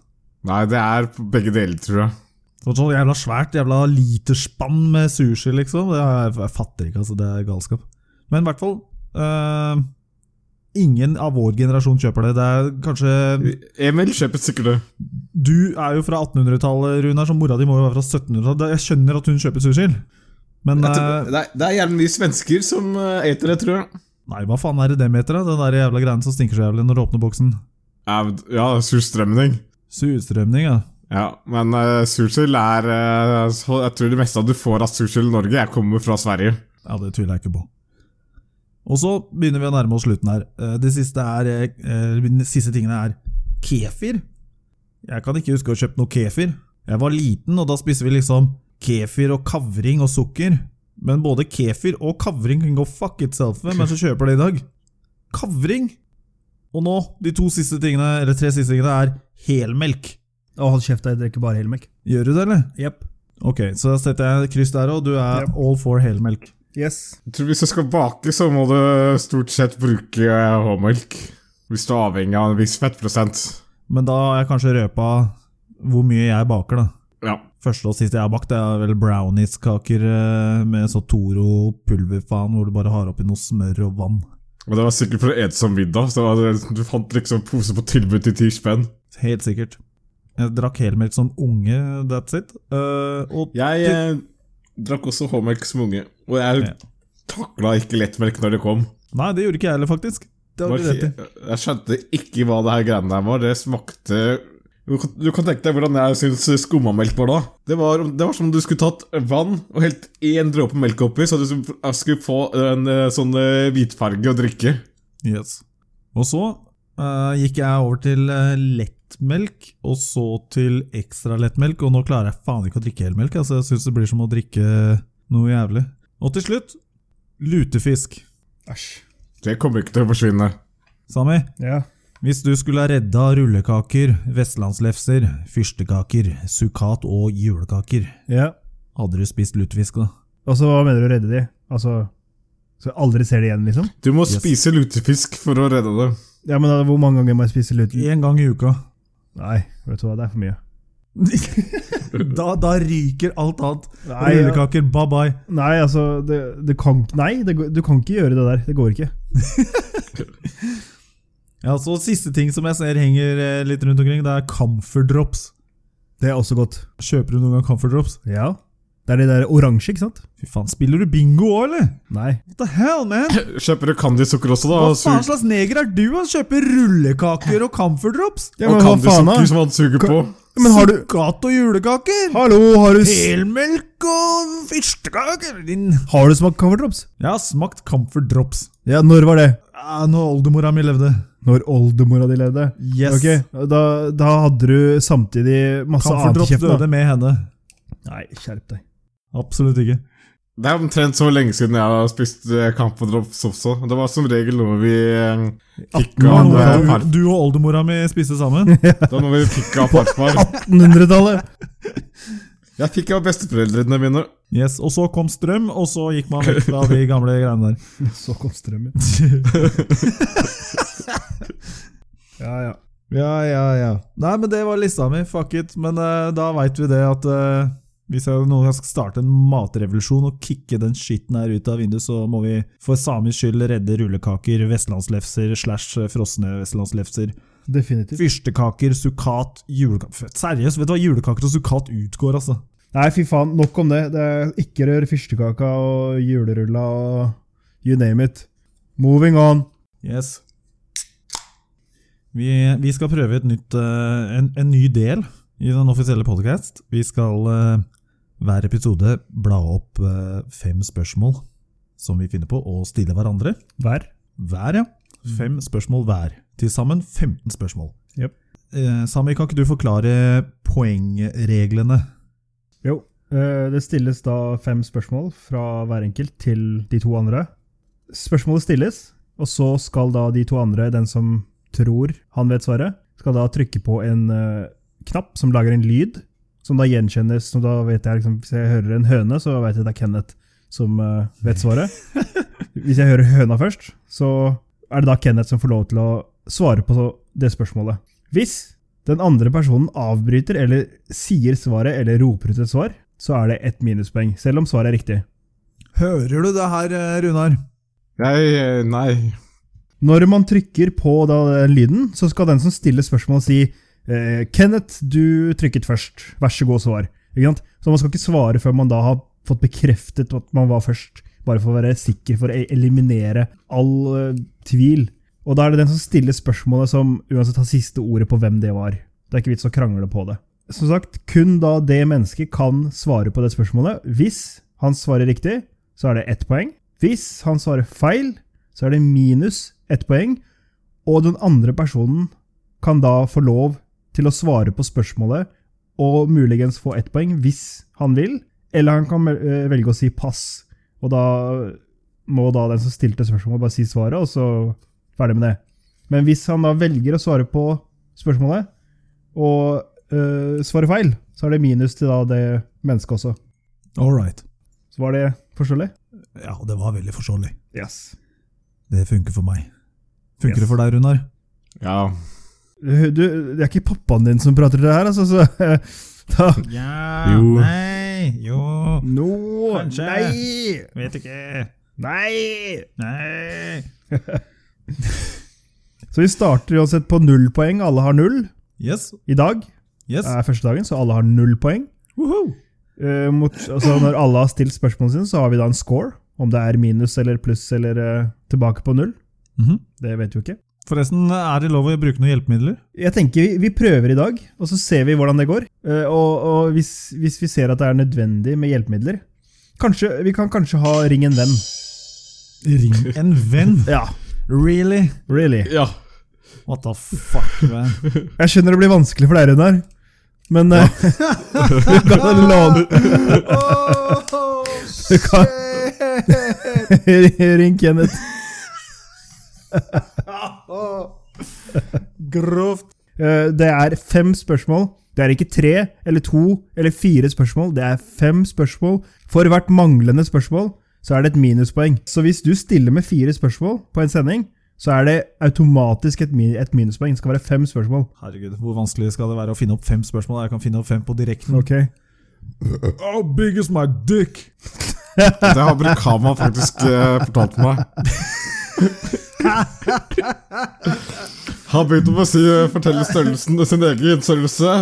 C: Nei, det er begge deler, tror jeg.
A: Sånn sånn jævla svært, jævla literspann med sushi, liksom. Det er, jeg fatter ikke, altså. Det er galskap. Men i hvert fall eh, Ingen av vår generasjon kjøper det. Det er kanskje
C: Emil kjøper sikkert det.
A: Du er jo fra 1800-tallet, Runar, så mora di må jo være fra 1700-tallet. Jeg skjønner at hun kjøper sushil, men
C: Jeg tror-
A: eh,
C: Det er, det er jævlig mye svensker som eh, eter det, tror jeg.
A: Nei, hva faen er det dem heter, da? Den der jævla greien som stinker så jævlig når du åpner boksen.
C: Ja, ja surstrømning.
A: Surstrømning, ja.
C: Ja, men uh, sursild er eh, så Jeg tror det meste du får av sursild i Norge, jeg kommer fra Sverige.
A: Ja, det tviler jeg ikke på. Og så begynner vi å nærme oss slutten her. Eh, Det siste er eh, eh, De siste tingene er kefir. Jeg kan ikke huske å ha kjøpt noe kefir. Jeg var liten, og da spiste vi liksom kefir og kavring og sukker. Men både kefir og kavring kan go fuck itself, men så kjøper det i dag. Kavring! Og nå, de to siste tingene, eller tre siste tingene, er helmelk.
B: Å, hold kjeft, jeg drikker bare helmelk.
A: Gjør du det, eller?
B: Jepp.
A: Ok, så da setter jeg kryss der òg. Du er
B: Yep.
A: all for helmelk.
B: Yes.
C: Jeg tror Hvis du skal bake, så må du stort sett bruke eh, håmelk. Hvis du er avhengig av en viss fettprosent.
A: Men da har jeg kanskje røpa hvor mye jeg baker, da.
C: Ja.
A: Første og siste jeg har bakt, det er vel brownies-kaker eh, med så Toro-pulverfaen, hvor du bare har oppi noe smør og vann.
C: Men det var sikkert for å ete som middag. Så det var, du fant liksom pose på tilbud til ti spenn.
A: Helt sikkert. Jeg drakk helmelk som unge, that's it. Eh, og
C: Jeg eh, drakk også håmelk som unge, og jeg
A: Ja.
C: takla ikke lettmelk når det kom.
A: Nei, det gjorde ikke jeg heller, faktisk. Det har du rett i.
C: Jeg skjønte ikke hva det her greiene der var. Det smakte du kan, du kan tenke deg hvordan jeg syns skummamelk var da. Det var, det var som om du skulle tatt vann og helt én dråpe melk oppi, så du skulle få en eh, sånn eh, hvitfarge å drikke.
A: Yes. Og så eh, gikk jeg over til eh, lettmelk, og så til ekstra lettmelk, og nå klarer jeg faen ikke å drikke helmelk. Altså, jeg syns det blir som å drikke noe jævlig. Og til slutt lutefisk.
B: Æsj.
C: Det kommer ikke til å forsvinne.
A: Sami,
B: Ja.
A: hvis du skulle ha redda rullekaker, vestlandslefser, fyrstekaker, sukkat og julekaker,
B: ja.
A: hadde du spist lutefisk da?
B: Og så hva mener du å redde de? Altså, så jeg aldri ser det igjen, liksom?
C: Du må
A: Yes.
C: spise lutefisk for å redde det.
B: Ja, men da, Hvor mange ganger må jeg spise luten?
A: Én gang i uka.
B: Nei, vet du hva, det er for mye.
A: Da, da ryker alt annet.
B: Nei, ja.
A: Rullekaker, bye bye.
B: nei altså det, det kan, Nei, det, går- du kan ikke gjøre det der. Det går ikke.
A: Ja, så Siste ting som jeg ser henger eh, litt rundt omkring, det er camphor drops.
B: Det er også godt.
A: Kjøper du noen gang camphor drops?
B: Ja. Det er de der oransje, ikke sant?
A: Fy faen, spiller du bingo òg, eller?
B: Nei.
A: What the hell, man?
C: Kjøper du candysukker også, da?
A: Hva
C: og
A: faen
C: sug-
A: slags neger er du som kjøper rullekaker og camphor drops?
B: Ja,
C: og
B: men hva faen,
C: candysukker
B: da?
C: som han suger på?
B: Men har du
A: Sukkat og julekaker?
B: Hallo, har du, s-
A: Helmelk og fyrstekaker? Din
B: har du smakt coverdrops?
A: Jeg har smakt camphor drops.
B: Ja, når var det?
A: Ja, når oldemora mi levde.
B: Når oldemora di levde.
A: Yes.
B: Ok, da, da hadde du samtidig masse
A: Camphor
B: annet i
A: drops
B: kjeften.
A: døde med henne.
B: da. Nei, skjerp deg.
A: Absolutt ikke.
C: Det er omtrent så lenge siden jeg har spist eh, Campodrops også. Det var som regel noe vi eh, fikk av
A: Oldemora-
C: eh, far-
A: du og oldemora mi spiste sammen?
C: Det var noe vi fikk av farfar.
B: 1800-tallet!
C: Jeg fikk av besteforeldrene mine.
A: Yes, Og så kom strøm, og så gikk man vekk fra de gamle greiene der.
B: Så kom strømmen. Ja, ja.
A: ja, ja, ja. Nei, men det var lista mi. Fuck it. Men eh, da veit vi det at eh, hvis jeg noen gang skal starte en matrevolusjon og kicke den skitten her ut av vinduet, så må vi for samisk skyld redde rullekaker, vestlandslefser slash eh, frosne vestlandslefser,
B: Definitivt.
A: fyrstekaker, sukkat, julekaker Seriøst, vet du hva? Julekaker og sukkat utgår, altså.
B: Nei, fy faen, nok om det. det er ikke rør fyrstekaka og julerulla og you name it. Moving on.
A: Yes. Vi, vi skal prøve et nytt, eh, en, en ny del i den offisielle podcast. Vi skal eh, hver episode bla opp eh, fem spørsmål som vi finner på å stille hverandre.
B: Hver?
A: Hver, ja. Fem spørsmål hver. Til sammen 15 spørsmål.
B: Jep.
A: Eh, Sami, kan ikke du forklare poengreglene?
B: Jo. eh, Det stilles da fem spørsmål fra hver enkelt til de to andre. Spørsmålet stilles, og så skal da de to andre, den som tror han vet svaret, skal da trykke på en eh, knapp som lager en lyd, som da gjenkjennes som da vet jeg, liksom, Hvis jeg hører en høne, så vet jeg det er Kenneth som eh, vet svaret. Hvis jeg hører høna først, så er det da Kenneth som får lov til å svare på det spørsmålet. Hvis den andre personen avbryter eller sier svaret eller roper ut et svar, så er det ett minuspoeng, selv om svaret er riktig.
A: Hører du det her, eh, Runar?
C: Jeg eh, Nei.
B: Når man trykker på da den lyden, så skal den som stiller spørsmål si eh, Kenneth, du trykket først. Vær så god, svar. Ikke sant? Så man skal ikke svare før man da har fått bekreftet at man var først. Bare for å være sikker, for å e- eliminere all eh, tvil. Og da er det den som stiller spørsmålet som uansett har siste ordet på hvem det var. Det er ikke vits å krangle på det. Som sagt, kun da det mennesket kan svare på det spørsmålet. Hvis han svarer riktig, så er det ett poeng. Hvis han svarer feil, så er det minus ett poeng, og den andre personen kan da få lov til å svare på spørsmålet og muligens få ett poeng hvis han vil, eller han kan eh, velge å si pass, og da må da den som stilte spørsmålet bare si svaret, og så ferdig med det. Men hvis han da velger å svare på spørsmålet, og eh, svarer feil, så er det minus til da det mennesket også.
A: All right.
B: Så var det forståelig?
A: Ja, det var veldig forståelig.
B: Yes.
A: Det funker for meg. Funker
B: Yes.
A: det for deg, Runar?
C: Ja.
B: Du, det er ikke pappaen din som prater til det her, altså, så eh, da,
A: Ja,
C: Jo.
A: Ah, nei, jo
B: No!
A: Kanskje.
B: Nei!
A: Vet ikke.
B: Nei!
A: Nei.
B: Så vi starter uansett på null poeng. Alle har null
A: Yes.
B: i dag.
A: Yes.
B: Det er første dagen, så alle har null poeng.
A: Woohoo.
B: Eh, mot, altså når alle har stilt spørsmålene sine, så har vi da en score. Om det er minus eller pluss eller eh, tilbake på null.
A: Mhm.
B: Det vet vi jo ikke.
A: Forresten, er det lov å bruke noen hjelpemidler?
B: Jeg tenker vi, vi prøver i dag, og så ser vi hvordan det går. Eh, Og, og hvis, hvis vi ser at det er nødvendig med hjelpemidler Kanskje, Vi kan kanskje ha ring en venn.
A: Ring en venn?
B: Ja,
A: Really?
B: really.
C: Ja.
A: What the fuck, man?
B: Jeg skjønner det blir vanskelig for deg, Runar. Men eh, du kan låne
A: oh,
B: Du kan- Ring Kenneth.
A: Grovt.
B: Eh, Det er fem spørsmål. Det er ikke tre eller to eller fire spørsmål. Det er fem spørsmål. For hvert manglende spørsmål så er det et minuspoeng. Så hvis du stiller med fire spørsmål på en sending, så er det automatisk et, mi- et minuspoeng. Det skal være fem spørsmål.
A: Herregud, hvor vanskelig skal det være å finne opp fem spørsmål? Jeg kan finne opp fem på direkten.
B: Ok.
A: How big is Oh, my dick?
C: Det har Brukama faktisk eh, fortalt meg. Han begynte med å si, eh, fortelle størrelsen sin egen størrelse.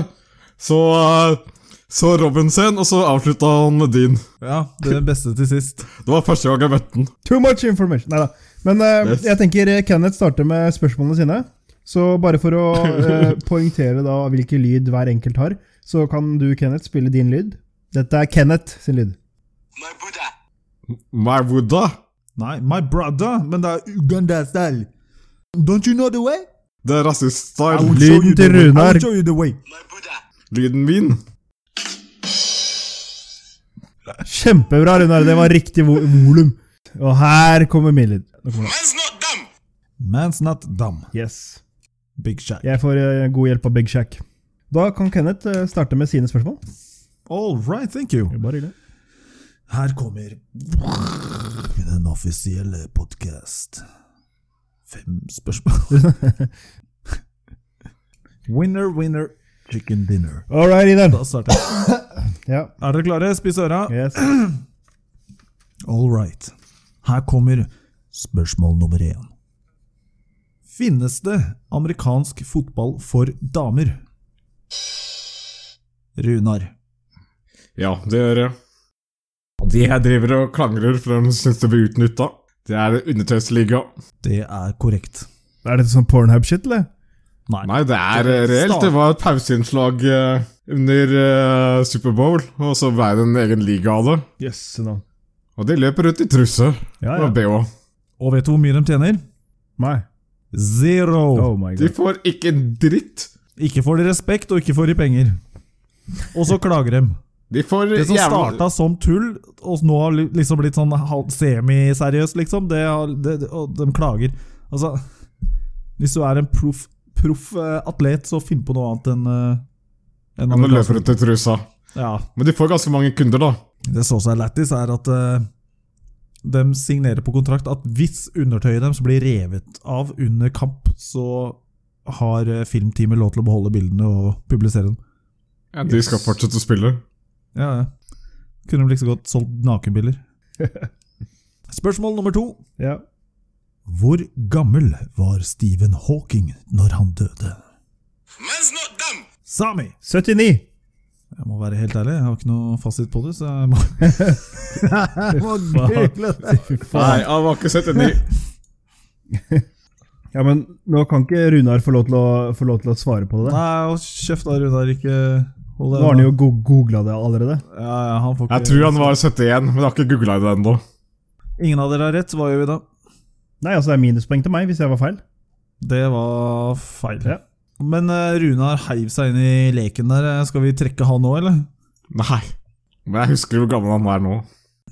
C: Så, eh, så Robin sin, og så avslutta han med din.
A: Ja, det beste til sist.
C: Det var første gang jeg møtte han.
B: Too much information! Neida. Men eh,
C: Yes.
B: jeg tenker eh, Kenneth starter med spørsmålene sine. Så bare for å eh, poengtere da hvilken lyd hver enkelt har, så kan du, Kenneth, spille din lyd. Dette er Kenneth sin lyd.
D: My Buddha.
C: My Buddha.
A: Nei, my brother, men det er Uganda-style. Don't you know the way?
C: Det er rasist-style.
B: Lyden til Runar.
A: I'll show you the way.
D: My Buddha.
C: Lyden min.
B: Kjempebra, Runar. Det var riktig vo- volum. Og her kommer min lyd. Nå kommer den.
D: Man's not dumb.
A: Man's not dumb.
B: Yes.
A: Big shack.
B: Jeg får eh, god hjelp av Big Shack. Da kan Kenneth eh, starte med sine spørsmål.
A: All right, thank you.
B: Det er Bare hyggelig.
A: Her kommer den offisielle podkast. Fem spørsmål. winner, winner, chicken dinner.
B: All right, Idar.
A: Da starter jeg.
B: Ja.
A: Er dere klare? Spis øra.
B: Yes.
A: All right. Her kommer spørsmål nummer én. Finnes det amerikansk fotball for damer? Runar.
C: Ja, det gjør jeg. De her driver og klangrer for de syns de blir utnytta. Det er undertøysliga.
A: Det er korrekt.
B: Er dette sånn Pornhub-shit, eller?
A: Nei.
C: Nei, det er eh, reelt. Det var et pauseinnslag eh, under eh, Superbowl, og så ble det en egen liga av det.
B: Yes, no.
C: Og de løper rundt i truse
B: Ja,
C: og
B: ja.
C: BH.
A: Og vet du hvor mye de tjener?
B: Nei.
A: Zero!
B: Oh my
C: De
B: god.
C: får ikke en dritt.
A: Ikke får de respekt, og ikke får de penger. Og så klager de.
C: De får
A: Det som
C: jævla
A: starta som tull, og nå har li- liksom blitt sånn halv- semiseriøst, liksom, det, har- det, det- og de klager. Altså Hvis du er en proff proff, eh, atlet, så finn på noe annet enn eh, enn
C: Når de
A: amerikansk-
C: løper rundt i trusa.
A: Ja.
C: Men de får ganske mange kunder, da.
A: Det som også er lættis, er at eh, de signerer på kontrakt at hvis undertøyet deres blir revet av under kamp, så har eh, filmteamet lov til å beholde bildene og publisere dem.
C: De skal fortsette å spille.
A: Ja, ja. Kunne de like så godt solgt nakenbiler. Spørsmål nummer to.
B: Ja.
A: Hvor gammel var Stephen Hawking når han døde?
D: Man's not dumb.
A: Sami!
B: 79.
A: Jeg må være helt ærlig, jeg har ikke noe fasit på det, så jeg må, jeg må google det.
B: Fy
C: Nei,
B: faen.
C: han var ikke sett enig.
B: Ja, men nå kan ikke Runar få lov til å, få lov til å svare på det.
A: Nei, hold kjeft da, Runar. Ikke hold
B: Nå har han jo go googla det allerede.
A: Ja, ja, han får ikke
C: Jeg tror han var 71, men jeg har ikke googla det ennå.
A: Ingen av dere har rett, hva gjør vi da?
B: Nei, altså det er minuspoeng til meg hvis jeg var feil.
A: Det var feil.
B: Ja.
A: Men eh, Runar heiv seg inn i leken der. Eh, Skal vi trekke han òg, eller?
C: Nei. Men jeg husker hvor gammel han er nå.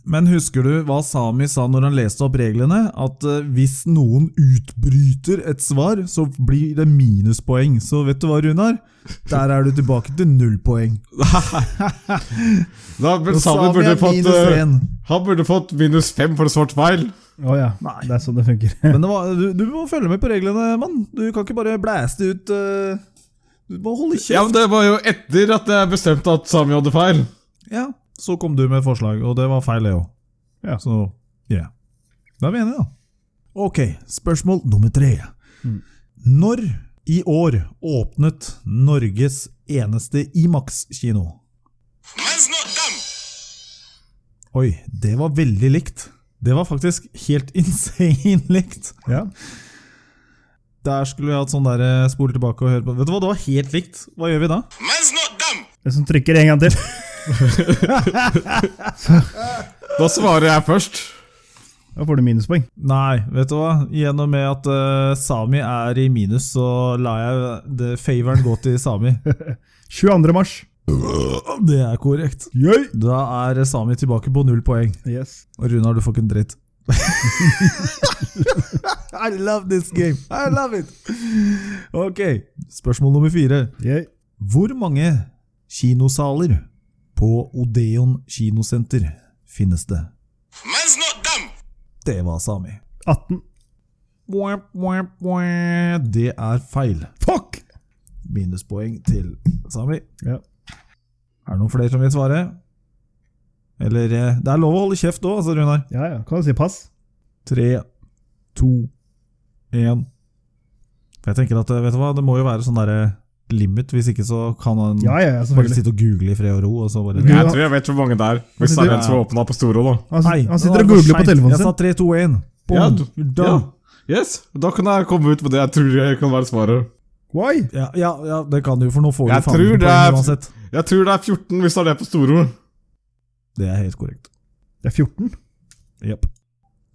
A: Men husker du hva Sami sa når han leste opp reglene? At eh, hvis noen utbryter et svar, så blir det minuspoeng. Så vet du hva, Runar? Der er du tilbake til null poeng.
C: Da, men
A: Og
C: Sami burde
A: er
C: fått,
A: minus
C: eh,
A: én.
C: han burde fått minus fem for svart feil.
B: Å ja.
A: Nei.
B: Det er sånn det funker.
A: Men det var, du, du må følge med på reglene, mann. Du kan ikke bare blæste ut eh, Du må holde kjeft.
C: Ja, men Det var jo etter at jeg bestemte at Sami hadde feil.
A: Ja, så kom du med forslag, og det var feil det òg.
B: Ja.
A: Så yeah. Da er vi enige, da. Ok, spørsmål nummer tre. Når i år åpnet Norges eneste Imax-kino?
D: Man's not dumb.
A: Oi, det var veldig likt. Det var faktisk helt insane likt.
B: Ja.
A: Der skulle vi hatt sånn der eh, spole tilbake og høre på. Vet du hva, det var helt likt. Hva gjør vi da?
D: Man's not dumb.
B: Den som trykker en gang til.
C: Da svarer jeg først.
B: Da får du minuspoeng.
A: Nei, vet du hva? Gjennom med at eh, Sami er i minus, så lar jeg det favoren gå til Sami.
B: 22. mars.
A: Det er korrekt.
B: Yay!
A: Da er Sami tilbake på null poeng.
B: Yes.
A: Og Runar, du får ikke en dritt. I love this game! I love it! Ok, spørsmål nummer fire.
B: Yay.
A: Hvor mange kinosaler på Odeon kinosenter finnes det?
D: Man's not dumb.
A: Det var Sami.
B: 18.
A: Mwah, mwah, mwah. Det er feil.
B: Fuck!
A: Minuspoeng til Sami.
B: Ja.
A: Er det noen flere som vil svare? Eller eh, Det er lov å holde kjeft òg, altså, Runar.
B: Ja, ja. Kan du si pass?
A: Tre, to, én Jeg tenker at eh, vet du hva, det må jo være sånn derre limit, hvis ikke så kan han
B: Ja, ja, ja
A: bare
B: selvfølgelig.
A: sitte og google i fred og ro, og så bare
B: Du-
C: Jeg tror jeg vet hvor mange det er. Hvis
B: Men
C: det
B: du-
C: er en som har åpna på Storo, da.
B: Han,
A: Nei,
B: han
A: nå
B: altså, sitter
A: er
B: og
A: det for
B: googler på
A: sent.
B: telefonen
A: Jeg sa
B: sin.
A: 3, 2, 1. Boom.
C: Ja, du-
A: You're done.
C: Ja. Yes, Da kan jeg komme ut med det jeg tror jeg kan være svaret.
B: Why?
A: Ja. Ja, ja, det kan du, for nå får du
C: Jeg
A: faen
C: tror
A: ikke
C: det
A: poeng
C: er-
A: uansett.
C: Jeg tror det er 14 hvis det er det på Storo.
A: Det er helt korrekt.
B: Det er 14.
A: Jepp.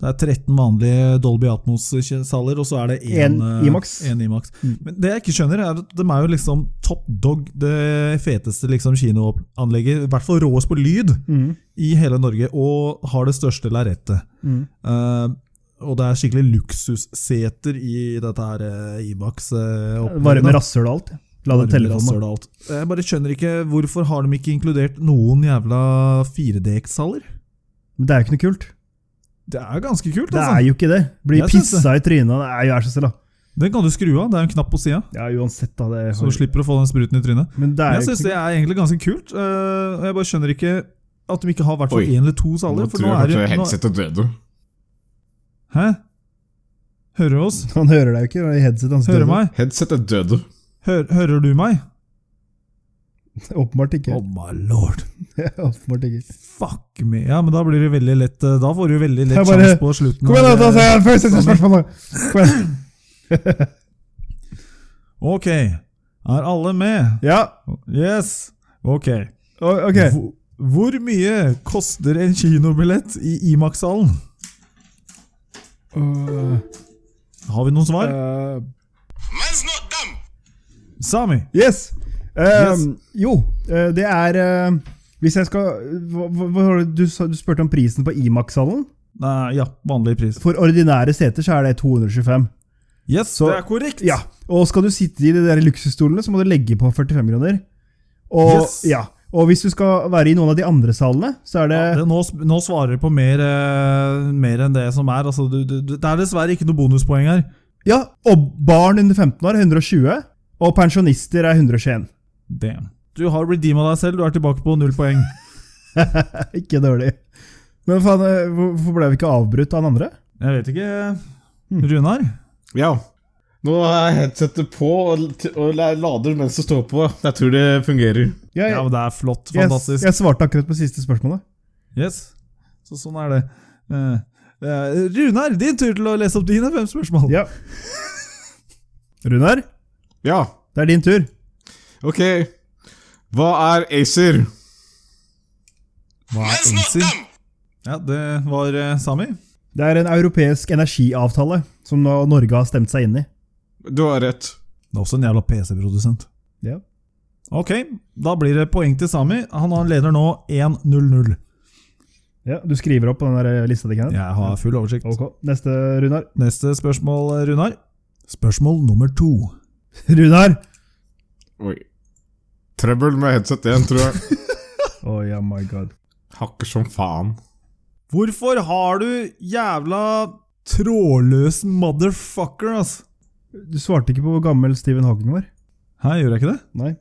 A: Det er 13 vanlige Dolby Atmos-saler, og så er det én
B: En
A: eh,
B: IMAX.
A: en IMAX.
B: Mm.
A: Men det jeg ikke skjønner, er at de er jo liksom top dog, det feteste liksom kinoanlegget, i hvert fall råest på lyd,
B: Mm.
A: i hele Norge, og har det største lerretet.
B: Mm.
A: Eh, og det er skikkelig luksusseter i dette her eh, IMAX. eh, opplegget, da.
B: Varme rasshøl og alt. La det
A: Varme
B: telle for meg.
A: rasshøl og alt. Jeg bare skjønner ikke hvorfor har de ikke inkludert noen jævla 4DX-saler?
B: Men det er jo ikke noe kult.
A: Det er ganske kult,
B: Det
A: altså.
B: er jo ikke det. Blir
A: Jeg syns det.
B: pissa i trynet. Det er jo vær så snill, da.
A: Den kan du skru av. Det er en knapp på sida,
B: Ja, uansett, da. Det
A: så du slipper å få den spruten i trynet.
B: Men det er
A: Jeg
B: jo
A: syns
B: ikke
A: det er egentlig ganske kult, eh, og jeg bare skjønner ikke at de ikke har i hvert fall
C: Oi.
A: én eller to saler.
C: Nå
A: For nå
C: tror jeg
A: er det
C: kanskje
A: nå,
C: headsetet døde.
A: Hæ? Hører du oss?
B: Han hører deg jo ikke. det er i headset hans
A: Hører
B: døde.
A: du meg?
C: Headsetet døde.
A: Hør, hører du meg?
B: sånn. Åpenbart ikke.
A: Oh my lord.
B: Åpenbart ikke.
A: Fuck me. Ja, men da blir det veldig lett eh, Da får du veldig lett
B: Jeg bare-
A: sjanse på slutten.
B: Kom igjen,
A: av
B: da! ta
A: det-
B: seg- Først et spørsmål, da! Kom igjen.
A: Ok. Er alle med?
B: Ja,
A: Yes. Ok.
B: o- ok.
A: Hvor, hvor mye koster en kinobillett i Imax-salen?
B: Øh,
A: Har vi noen svar?
B: øh,
D: Man's not dumb.
A: Sami.
B: Yes! Eh,
A: Yes.
B: Jo, eh, det er eh, Hvis jeg skal hva, hva, hva, var det du, sa- du spurte om prisen på Imax-salen.
A: Nei, ja, vanlig pris.
B: For ordinære seter så er det 225.
A: Yes,
B: Så-
A: det er korrekt.
B: Ja, og skal du sitte i de der luksusstolene, så må du legge på 45 kroner. Og,
A: Yes.
B: ja. og hvis du skal være i noen av de andre salene, så er det,
A: Ja, det, nå, sp- nå svarer du på mer, eh, mer enn det som er. Altså, du, du, du- det er dessverre ikke noe bonuspoeng her.
B: Ja, og barn under 15 år 120, og pensjonister er 121.
A: Damn. Du har redeema deg selv. Du er tilbake på null poeng.
B: Ikke dårlig. Men faen, eh, hvor- hvorfor ble vi ikke avbrutt av den andre?
A: Jeg vet ikke Runar?
C: Ja. Nå er headsetet på og, og lader mens det står på. Jeg tror det fungerer.
B: Jeg,
A: Ja, men Det er flott.
B: jeg,
A: Fantastisk.
B: jeg svarte akkurat på siste spørsmålet.
A: Yes. Så sånn er det. Eh, eh, Runar, din tur til å lese opp dine fem spørsmål.
B: Ja. Runar,
C: Ja,
B: det er din tur.
C: ok. Hva er Acer?
A: Hva er
D: Man's not
A: Innsyn?
D: dumb.
A: Ja, det var eh, Sami.
B: Det er en europeisk energiavtale som nå Norge har stemt seg inn i.
C: Du har rett.
A: Det er også en jævla PC-produsent.
B: Ja.
A: Ok, da blir det poeng til Sami. Han har- leder nå 1-0-0.
B: Ja, du skriver opp på den der lista di, Kenneth?
A: Jeg har full oversikt.
B: Ok, Neste, Runar.
A: Neste spørsmål, Runar. Spørsmål nummer to.
B: Runar!
C: Oi. Trøbbel med headset 1, tror jeg.
B: Oh, yeah, my god.
C: Hakker som faen.
A: Hvorfor har du jævla trådløs motherfucker, ass?
B: Du svarte ikke på hvor gammel Stephen Hawking var.
A: Hæ, gjorde jeg ikke det?
B: Nei?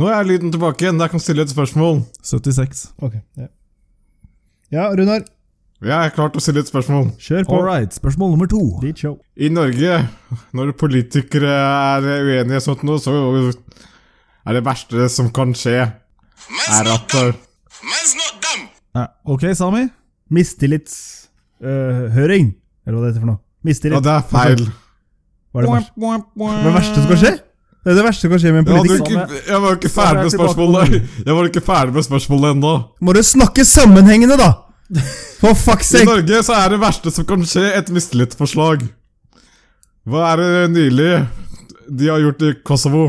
C: Nå er lyden tilbake igjen. Jeg kan stille et spørsmål.
A: 76.
B: Ok. Ja, ja Runar.
C: Jeg er klar til å stille et spørsmål.
B: Kjør på.
A: All right, spørsmål nummer to.
B: Ditt show.
C: I Norge, når politikere er uenige og sånt noe, så er det verste som kan skje,
D: Man's
C: er
D: not
C: at eh,
D: dumb. Man's not dumb.
A: Ja, ok, Sami.
B: Mistillitshøring, høring eh, eller hva det heter for noe.
C: Ja,
B: Mistillit.
C: det er feil.
B: Hva er det, verste? Hva er det verste som kan skje? Det er det verste som kan skje med en
C: Jeg, hadde jo
B: politiker.
C: ikke, jeg var jo ikke ferdig med spørsmålet Jeg var jo ikke ferdig med spørsmålet ennå.
B: Må du snakke sammenhengende, da! For fuck's
C: I
B: sake!
C: Norge så er det verste som kan skje, et mistillitsforslag. Hva er det nylig de har gjort i Kosovo?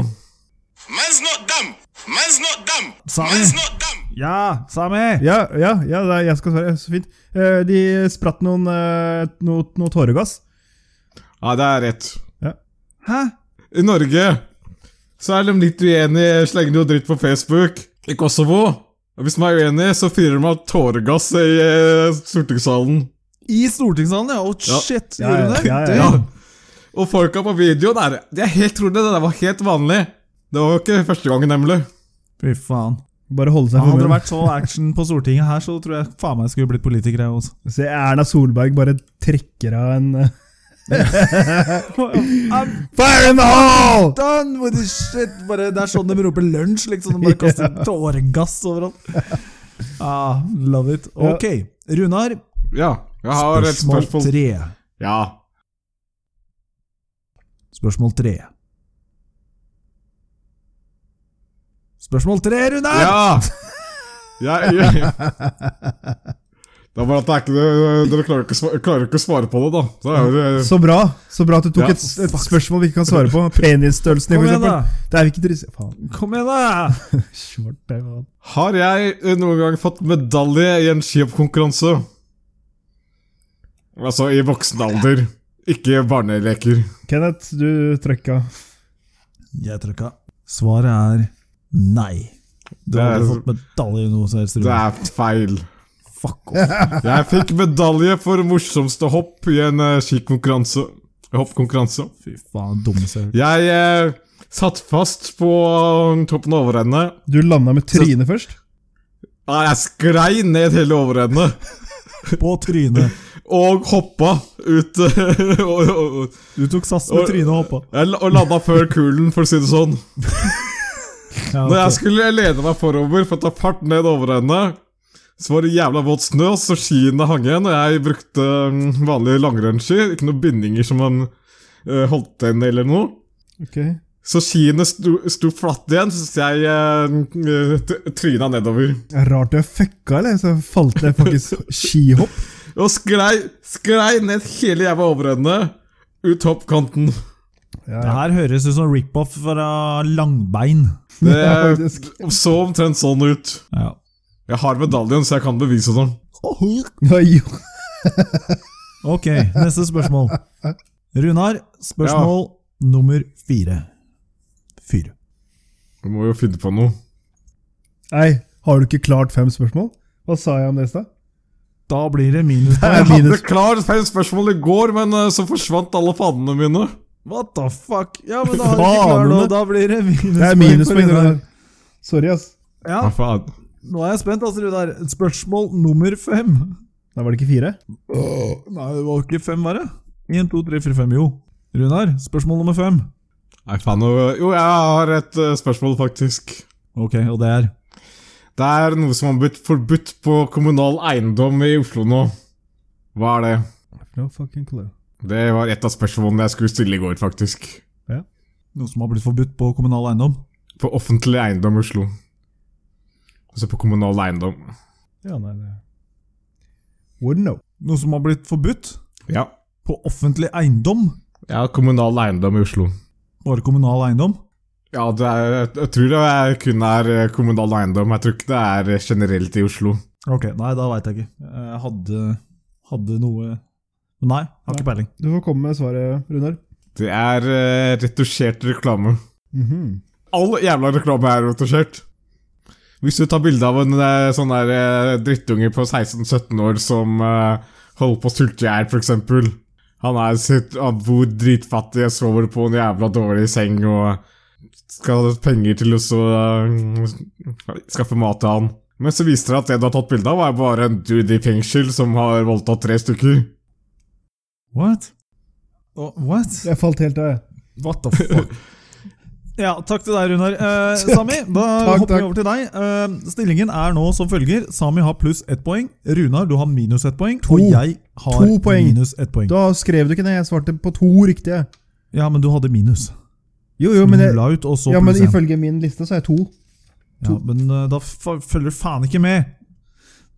D: Man's not dumb. Man's not dumb.
A: Sorry.
D: Man's not dumb.
A: Ja, Sami!
B: Ja, ja, ja det er, jeg skal svare. Så fint. Eh, De spratt noen eh, noe, noe tåregass.
C: Ja, det er rett.
A: Hæ?
C: I Norge så er de litt uenige, slenger jo dritt på Facebook. I Kosovo og Hvis man er uenig, så fyrer de av tåregass i eh, stortingssalen.
A: I stortingssalen, ja! Å, shit!
B: Ja,
A: Gjør hun det?
B: ja, ja,
C: Ja. Og folka på videoen er, De er helt trolig, det der var helt vanlig. Det var jo ikke første gangen, nemlig.
A: Fy faen.
B: Bare holde seg for
A: Hadde det
B: munnen.
A: vært så action på Stortinget her, så tror jeg faen meg jeg skulle blitt politiker, jeg også.
B: Se Erna Solberg bare trekker av en eh,
A: I'm
B: Fire in the hole!
A: done with this shit! Bare, det er sånn de roper lunsj, liksom. De bare kaster tåregass overalt. Ah, love it. Ok, Runar.
C: Ja, jeg har et
A: Spørsmål
C: spørsmål.
A: tre.
C: Ja.
A: Spørsmål tre. Spørsmål tre, Runar!
C: Ja! Jeg, jeg. Det er bare at det er ikke, det- dere klarer ikke, å sva- klarer ikke å svare på det, da. Så er det,
B: Så bra så bra at du tok
C: Ja.
B: et, et spørsmål vi ikke kan svare på. Penisstørrelsen,
A: Kom
B: for
A: igjen,
B: eksempel.
A: da!
B: Det er vi ikke interessert Faen.
A: Kom igjen, da!
B: Svart, det er faen.
C: har jeg eh, noen gang fått medalje i en skihoppkonkurranse? Altså i voksen alder. Ikke barneleker.
B: Kenneth, du trøkka.
A: Jeg trykka. Svaret er nei. Du
C: Det
A: har
C: er-
A: aldri fått medalje i noe som helst,
C: Det
A: Runar.
C: er feil.
A: Fuck off.
C: Jeg fikk medalje for morsomste hopp i en eh, skikonkurranse. Hoppkonkurranse.
A: Fy faen, dummeste jeg har hørt.
C: Jeg eh, satt fast på toppen av overrennet.
B: Du landa med trynet først.
C: Nei, jeg sklei ned hele overrennet
A: På trynet.
C: og hoppa ut eh, og, og,
A: Du tok sats med
C: Og-
A: trynet og hoppa.
C: jeg la- og landa før kulen, for å si det sånn.
A: Ja,
C: Når jeg
A: ok.
C: skulle lede meg forover for å ta fart ned overrennet, så var det jævla våt snø, så skiene hang igjen, og jeg brukte mm, vanlige langrennsski. Ikke noen bindinger som man eh, holdt igjen eller noe.
B: Ok.
C: Så skiene sto, sto flatt igjen, så jeg eh, t- tryna nedover.
B: Det er Rart du er fucka, eller? Så falt det faktisk skihopp.
C: Og sklei, sklei ned hele jævla overrennet ut hoppkanten.
B: Ja,
A: Det
B: ja.
A: her høres ut som rip-off fra langbein.
C: Det
B: Ja, faktisk.
C: så omtrent sånn ut.
A: Ja.
C: Jeg har medaljen, så jeg kan bevise sånn. det.
B: Oi, jo.
A: Ok, neste spørsmål. Runar, spørsmål nummer fire. Fyr.
C: Du må jo finne på noe.
B: Nei, har du ikke klart fem spørsmål? Hva sa jeg om det i stad?
A: Da blir det minus.
B: Det
C: Jeg
B: er
C: hadde
B: minus.
C: klart feil spørsmål i går, men eh, så forsvant alle fanene mine.
A: What the fuck? Ja, men da har du ikke klart det, og da blir det minus.
B: Det er minuspoeng. det der. Sorry, ass.
A: Ja,
C: Hva faen?
A: nå er jeg spent, altså, Runar. Spørsmål nummer fem.
B: Da var det ikke fire?
A: Nei, det var ikke fem, var det? Én, to, tre, fire, fem. Jo. Runar, spørsmål nummer fem.
C: Nei, faen. nå- Jo, jeg har et eh, spørsmål, faktisk.
A: Ok, og det er
C: Det er noe som har blitt forbudt på kommunal eiendom i Oslo nå. Hva er det?
B: No fucking clue.
C: Det var et av spørsmålene jeg skulle stille i går, faktisk.
A: noe som har blitt forbudt på kommunal eiendom.
C: På offentlig eiendom i Oslo. Altså på kommunal eiendom.
B: Ja, nei, det Wouldn't know.
A: Noe som har blitt forbudt
C: Ja.
A: på offentlig eiendom.
C: Ja, kommunal eiendom i Oslo.
A: Bare kommunal eiendom.
C: Ja, det er, jeg tror det er kun er eh, kommunal eiendom. Jeg tror ikke det er eh, generelt i Oslo.
A: Ok, nei, da veit jeg ikke. Jeg hadde, hadde noe Men Nei, har ikke peiling.
B: Du får komme med svaret, Runar.
C: Det er eh, retusjert reklame.
B: Mhm.
C: All jævla reklame er retusjert. Hvis du tar bilde av en eh, sånn der eh, drittunge på 16-17 år som eh, holder på å sulte i hjel, f.eks. Han er sitt, han bor dritfattig, jeg sover på en jævla dårlig seng og skal ha penger til å så, eh, skaffe mat til han. Men så viser det seg at det du har tatt bilde av, er bare en dude i fengsel som har voldtatt tre stykker.
A: What? Å, what?
B: Jeg falt helt av, jeg.
A: What the fuck? Ja, takk til deg, Runar. Eh, Sami, da
B: Takk,
A: hopper
B: takk.
A: vi over til deg. Eh, stillingen er nå som følger. Sami har pluss ett poeng. Runar, du har minus ett poeng.
B: To.
A: Og jeg har
B: To poeng.
A: minus ett poeng.
B: Da skrev du ikke ned. Jeg svarte på to riktige.
A: Ja, men du hadde minus.
B: Jo, jo,
A: Du
B: men, jeg,
A: la ut, og så
B: ja, men
A: pluss én.
B: ifølge min liste så er jeg to.
A: Ja, men eh, da f- følger du faen ikke med!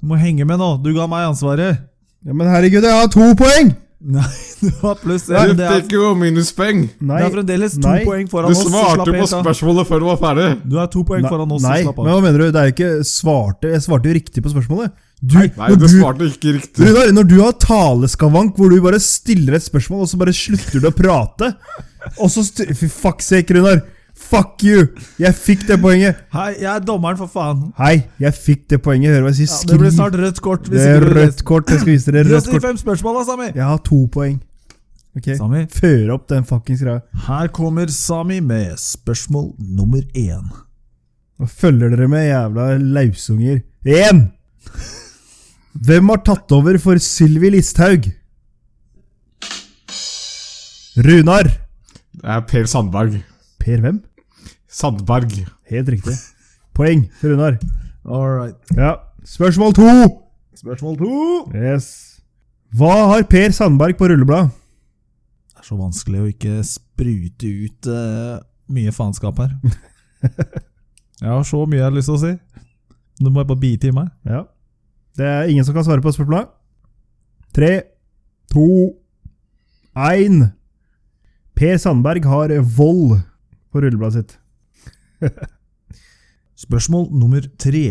A: Du må henge med nå! Du ga meg ansvaret!
B: Ja, Men herregud, jeg har to poeng!
A: Nei, du har pluss
C: Du
A: én. Det er,
C: fikk jo minuspoeng!
B: Nei,
A: det er fremdeles to
B: Nei.
A: poeng
C: Du
A: foran oss. så
C: svarte
A: slapp
C: jo på
A: helt av.
C: spørsmålet før du var ferdig!
A: Du er to poeng foran oss. så
B: nei,
A: slapp av.
B: men hva mener du? Det er jo ikke svarte, Jeg svarte jo riktig på spørsmålet. Du,
C: Nei,
B: når
C: du
B: du,
C: svarte ikke riktig.
B: Runar, når du har taleskavank hvor du bare stiller et spørsmål, og så bare slutter du å prate Og så st- Fy fuck sake, Runar! Fuck you! Jeg fikk det poenget.
A: Hei, jeg er dommeren, for faen!
B: Hei, jeg fikk det poenget. Hører du hva jeg sier?
A: Ja, det blir
B: Skriv.
A: snart rødt kort.
B: Det
A: Hvis
B: er
A: ikke du
B: rødt kort. Jeg skal vise dere rødt kort.
A: 35 spørsmål, da, Sami!
B: Jeg har to poeng. Ok,
A: Sami,
B: Føre opp den fuckings greia.
A: her kommer Sami med spørsmål nummer én.
B: Nå følger dere med, jævla lausunger. Én! Hvem har tatt over for Sylvi Listhaug? Runar.
C: Det er Per Sandberg.
B: Per hvem?
C: Sandberg.
B: Helt riktig. Poeng til Runar.
A: All right.
B: Ja. Spørsmål to.
A: Spørsmål to!
B: Yes. Hva har Per Sandberg på rullebladet?
A: Det er så vanskelig å ikke sprute ut eh, mye faenskap her. jeg har så mye jeg har lyst til å si. Nå må jeg bare bite i meg.
B: Ja. Det er ingen som kan svare på spørsmålet. Tre, to, én. Per Sandberg har vold på rullebladet sitt.
A: Spørsmål nummer tre.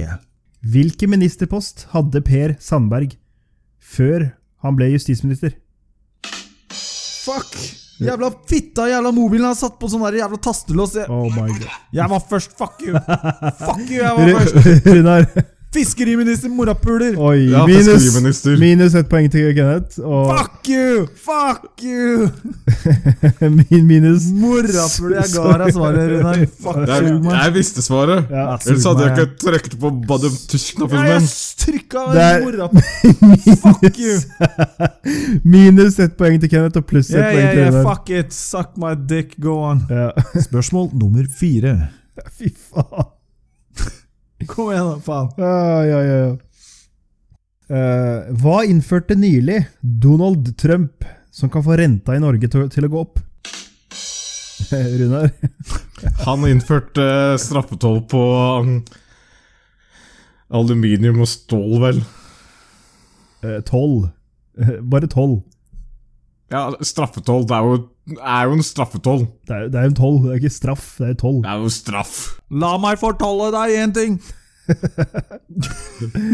B: Hvilken ministerpost hadde Per Sandberg før han ble justisminister?
A: Fuck! Jævla fitta, jævla mobilen har satt på sånn der jævla tastelås. Jeg,
B: Oh my god.
A: jeg var først, fuck you! Fuck you, jeg var først!
B: Runar.
A: Fiskeriminister morapuler!
B: Oi,
C: Ja,
B: minus,
C: fiskeriminister.
B: minus ett poeng til Kenneth. Og
A: Fuck you! Fuck you!
B: min minus
A: Morapuler jeg ga deg svaret, Runar. Fuck
C: Det er,
A: you, mann.
C: jeg visste svaret.
B: Ja.
C: Ellers hadde jeg ikke trukket på badum-tusj-knappen
A: Jeg
C: min.
A: trykka
B: Det er-
A: morapuler! Fuck you!
B: Minus ett poeng til Kenneth og pluss ett
A: Yeah,
B: poeng
A: yeah,
B: til
A: yeah,
B: Runar.
A: fuck it! Suck my dick, go on!
B: Ja.
A: Spørsmål nummer fire.
B: Fy faen. Ah,
A: Kom igjen, da, faen.
B: Ja, ja, ja. ja. Eh, hva innførte nylig Donald Trump som kan få renta i Norge til, til å gå opp? Runar?
C: Han innførte eh, straffetoll på mm, aluminium og stål, vel.
B: Eh, Tolv. Eh, Bare tolv.
C: Ja, straffetoll. Det er jo, er jo en straffetoll.
B: Det er, det er jo tolv, det er ikke straff. Det er jo tolv.
C: Det er jo straff.
A: La meg fortelle deg én ting.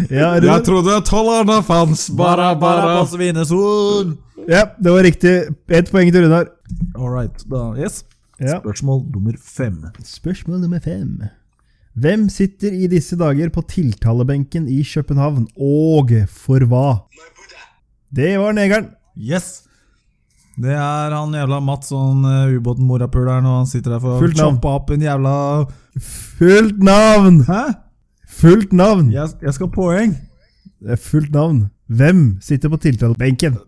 B: Ja,
C: Jeg
B: Runar?
C: trodde tollerne fantes, bare, bare.
A: på Svinesund.
B: ja, det var riktig. Ett poeng til Runar.
A: All right, da. Yes.
B: Ja.
A: Spørsmål nummer fem.
B: Spørsmål nummer fem. Hvem sitter i disse dager på tiltalebenken i København, og for hva? Det var negeren.
A: Yes! Det er han jævla Mats, han eh, ubåten morapuleren, og han sitter der for å
B: Fullt navn.
A: choppe opp en jævla
B: Fullt navn!
A: Hæ?
B: Fullt navn!
A: Jeg, jeg skal ha poeng!
B: Det er fullt navn. Hvem sitter på tiltalebenken?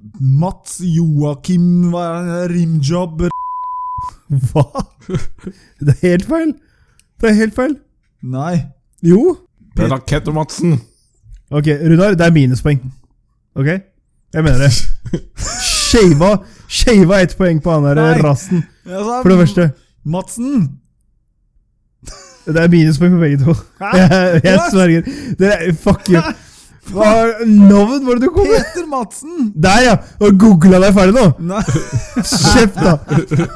A: Mats Joakim hva er det? Rimjob
B: Hva?! Det er helt feil! Det er helt feil!
A: Nei.
B: Jo!
C: Det er Rakett-Madsen.
B: Ok, Runar, det er minuspoeng. Ok? Jeg mener det. Shava, shava ett poeng på han
A: Nei.
B: der rassen,
A: Jeg sa
B: for det første.
A: Madsen!
B: Det er minuspoeng på begge to.
A: Hæ?
B: Jeg, jeg
A: What?
B: sverger. Det er, fuck you. Hva navn var det du kom med?
A: Peter Madsen!
B: Der, ja! Og googla deg ferdig nå!
A: Nei,
B: Kjeft, da!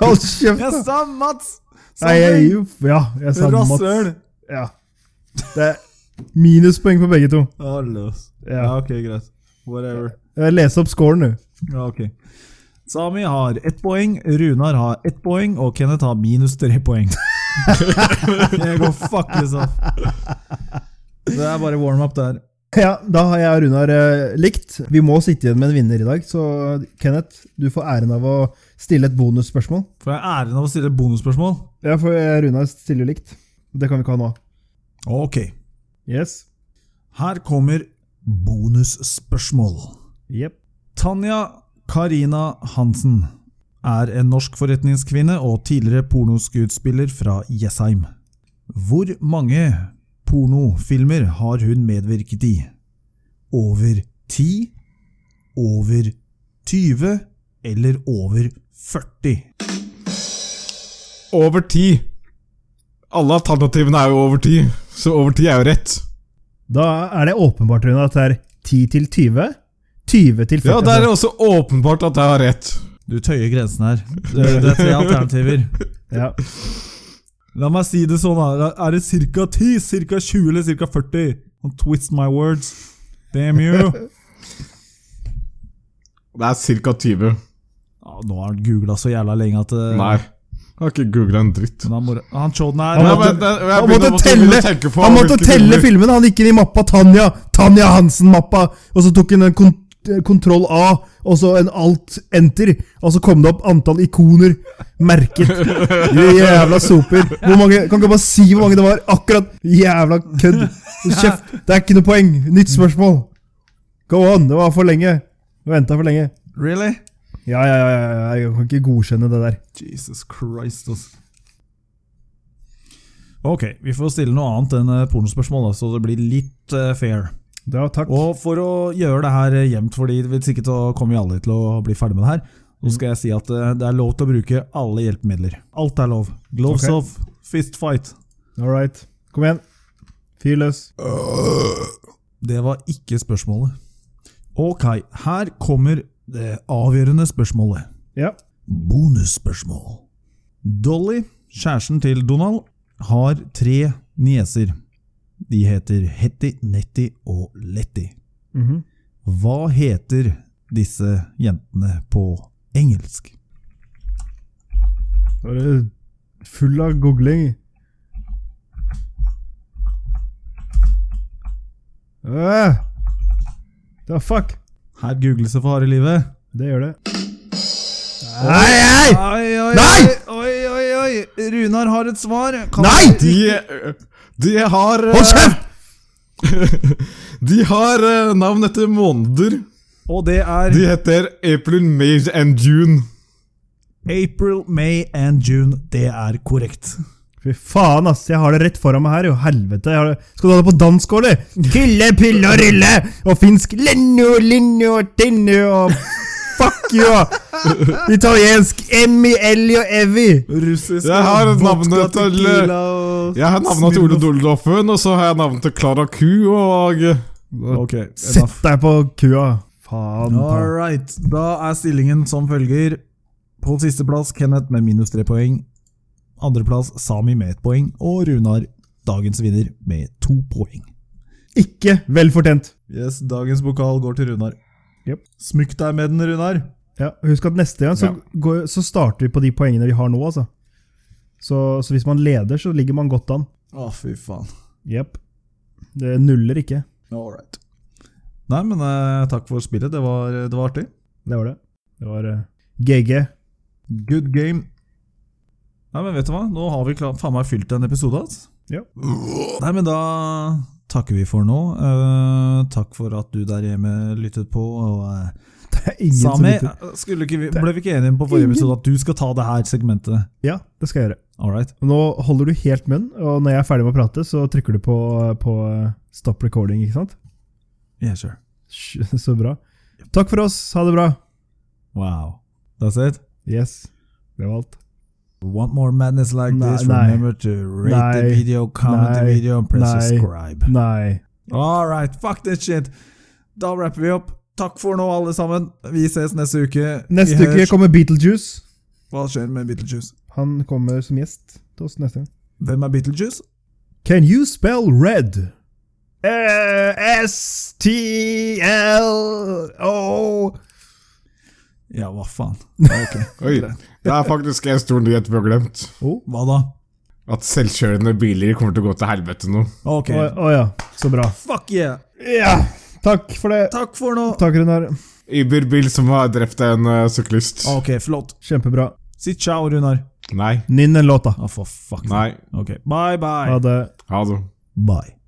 B: Hold kjeft,
A: jeg
B: da!
A: sa Mats!
B: Nei, jeg, ja, jeg sa Mats.
A: Rasshøl!
B: Ja. Det er minuspoeng på begge to.
A: Å, løs. Ja,
B: Ja.
A: ok, greit. Whatever.
B: Les opp scoren, du.
A: Ja, ok. Sami har ett poeng, Runar har ett poeng, og Kenneth har minus tre poeng. Jeg går fuck yourself. Det er bare warm-up, det her.
B: Ja, da har jeg og Runar eh, likt. Vi må sitte igjen med en vinner i dag, så Kenneth, du får æren av å stille et bonusspørsmål.
A: Får jeg æren av å stille et bonusspørsmål?
B: Ja, for eh, Runar stiller likt. Det kan vi ikke ha nå.
A: Ok.
B: Yes.
A: Her kommer bonusspørsmål.
B: Jepp.
A: Tanja Karina Hansen er en norsk forretningskvinne og tidligere pornoskuespiller fra Jessheim. Hvor mange pornofilmer har hun medvirket i? Over 10? Over 20? Eller over 40?
C: Over ti. Alle alternativene er jo over ti, så over ti er jo rett.
B: Da er det åpenbart Rune, at det er 10 til 20. 20 til 40.
C: Ja, det er også åpenbart at jeg har rett.
A: Du tøyer grensen her. Det, det er tre alternativer.
B: Ja.
A: La meg si det sånn, da. Er det ca. 10, ca. 20 eller ca. 40? Don't twist my words. Damn you.
C: Det er ca. 20.
A: Ja, nå har han googla så jævla lenge at eh,
C: Nei. Jeg har ikke googla en dritt.
A: Men han, mor- han Tjodden her
B: Han
C: Nei,
A: han,
B: måtte-
C: men det- jeg
B: Han
C: begynner-
B: måtte
C: måtte begynne
B: telle,
C: å tenke på
B: han måtte
C: hvilke
B: telle
C: filmer-
B: filmen! Han gikk inn i mappa Tanja Tanja Hansen-mappa, og så tok han en kon eh, kontroll A, og så en alt enter, og så kom det opp antall ikoner merket. Du jævla soper. Hvor mange, kan ikke bare si hvor mange det var? Akkurat! Jævla kødd! Hold Kjeft! Det er ikke noe poeng! Nytt spørsmål! Go on! Det var for lenge. Du venta for lenge.
A: Really?
B: Ja, ja, ja, ja, ja, jeg kan ikke godkjenne det der.
A: Jesus Christ, altså. Ok, vi får stille noe annet enn eh, pornospørsmål, da, så det blir litt eh, fair.
B: Ja, takk.
A: Og for å gjøre det her eh, jevnt, fordi hvis ikke så kommer vi alle til å bli ferdig med det her, så skal jeg si at eh, det er lov til å bruke alle hjelpemidler. Alt er lov. Gloves
B: Ok.
A: off, fist fight.
B: All right. Kom igjen. Fyr løs.
A: Det var ikke spørsmålet. Ok, her kommer det avgjørende spørsmålet.
B: Ja.
A: Bonusspørsmål. Dolly, kjæresten til Donald, har tre nieser. De heter Hetty, Netty og Letty.
B: Mhm.
A: Hva heter disse jentene på engelsk?
B: Da er det full av googling. Øh! Da fuck!
A: Her googles det for harde livet.
B: Det gjør det. Nei, nei!
A: Oi, oi,
B: Nei!
A: oi, oi, oi! Runar har et svar. Kan
B: Nei!
C: De, eh, de har eh,
B: Hold kjeft!
C: De har eh, navn etter måneder.
A: Og det er
C: De heter April, May and June.
A: April, May and June. Det er korrekt.
B: Fy faen, ass. Jeg har det rett foran meg her, jo. Helvete. Jeg har det. Skal du ha det på dansk, eller? Kille, pille og rille! Og finsk lenno, linno, tinno og Fuck you! og Italiensk emmi, elli og evi.
A: Russisk
C: Jeg har
A: vodka,
C: navnet til-
A: tequila og-
C: Jeg har navnet til Ole Doldoffen, og så har jeg navnet til Klara Ku og eh,
A: Ok,
B: Sett
A: enough.
B: deg på kua. Faen. ta.
A: All right. Da er stillingen som følger. På sisteplass Kenneth med minus tre poeng. Andreplass Sami med ett poeng. Og Runar, dagens vinner, med to poeng.
B: Ikke vel fortjent.
A: Yes, Dagens pokal går til Runar.
B: Jep.
A: Smykk deg med den, Runar.
B: Ja, husk at neste gang så, går, så starter vi på de poengene vi har nå, altså. Så, så hvis man leder, så ligger man godt an.
A: Å, fy faen.
B: Jepp. Det nuller ikke.
A: All right. Nei, men eh, takk for spillet. Det var, eh, det var artig.
B: Det var det. Det var eh, GG.
A: Good game. Nei, men vet du hva? Nå har vi klar, faen meg fylt en episode, altså.
B: Ja.
A: Nei, men da takker vi for nå. Eh, takk for at du der hjemme lyttet på. Og, eh,
B: Det er ingen som
A: Sami, eh,
B: lytter.
A: skulle ikke vi, ble vi ikke enige på forrige
B: Ingen.
A: episode at du skal ta det her segmentet?
B: Ja, det skal jeg gjøre.
A: All right.
B: Og Nå holder du helt munn, og når jeg er ferdig med å prate, så trykker du på, på eh, stop recording, ikke sant?
A: Yeah, sure.
B: Sj, Så bra. Takk for oss. Ha det bra.
A: Wow. That's it?
B: Yes. Det var alt.
A: Want more madness like
B: Nei,
A: this?
B: nei.
A: Remember to rate the
B: Nei.
A: video, comment the
B: Nei.
A: video, and press
B: Nei.
A: subscribe.
B: Nei.
A: All right, fuck that shit. Da rapper vi opp. Takk for nå, alle sammen. Vi ses neste uke.
B: Neste
A: vi
B: uke
A: høres.
B: kommer Beetlejuice.
A: Hva skjer med Beetlejuice?
B: Han kommer som gjest til oss neste gang.
A: Hvem er Beetlejuice?
B: Can you spell red? E S-T-L-O
A: Ja, hva faen.
C: Oi, det er faktisk en stor nyhet vi har glemt.
A: Hva da?
C: At selvkjørende biler kommer til å gå til helvete nå.
A: Ok.
B: Å å ja, så bra.
A: Fuck yeah.
B: Ja, takk for det.
A: Takk for nå.
B: Takk, Runar.
C: Uber-bil som har drept en eh, syklist.
A: Ok, flott.
B: Kjempebra.
A: Si ciao, Runar.
C: Nei.
B: Ninn den låta.
A: Å, for fuck.
C: Nei.
A: Ok. Bye, bye.
B: Ha det.
C: Ha det.
A: Bye.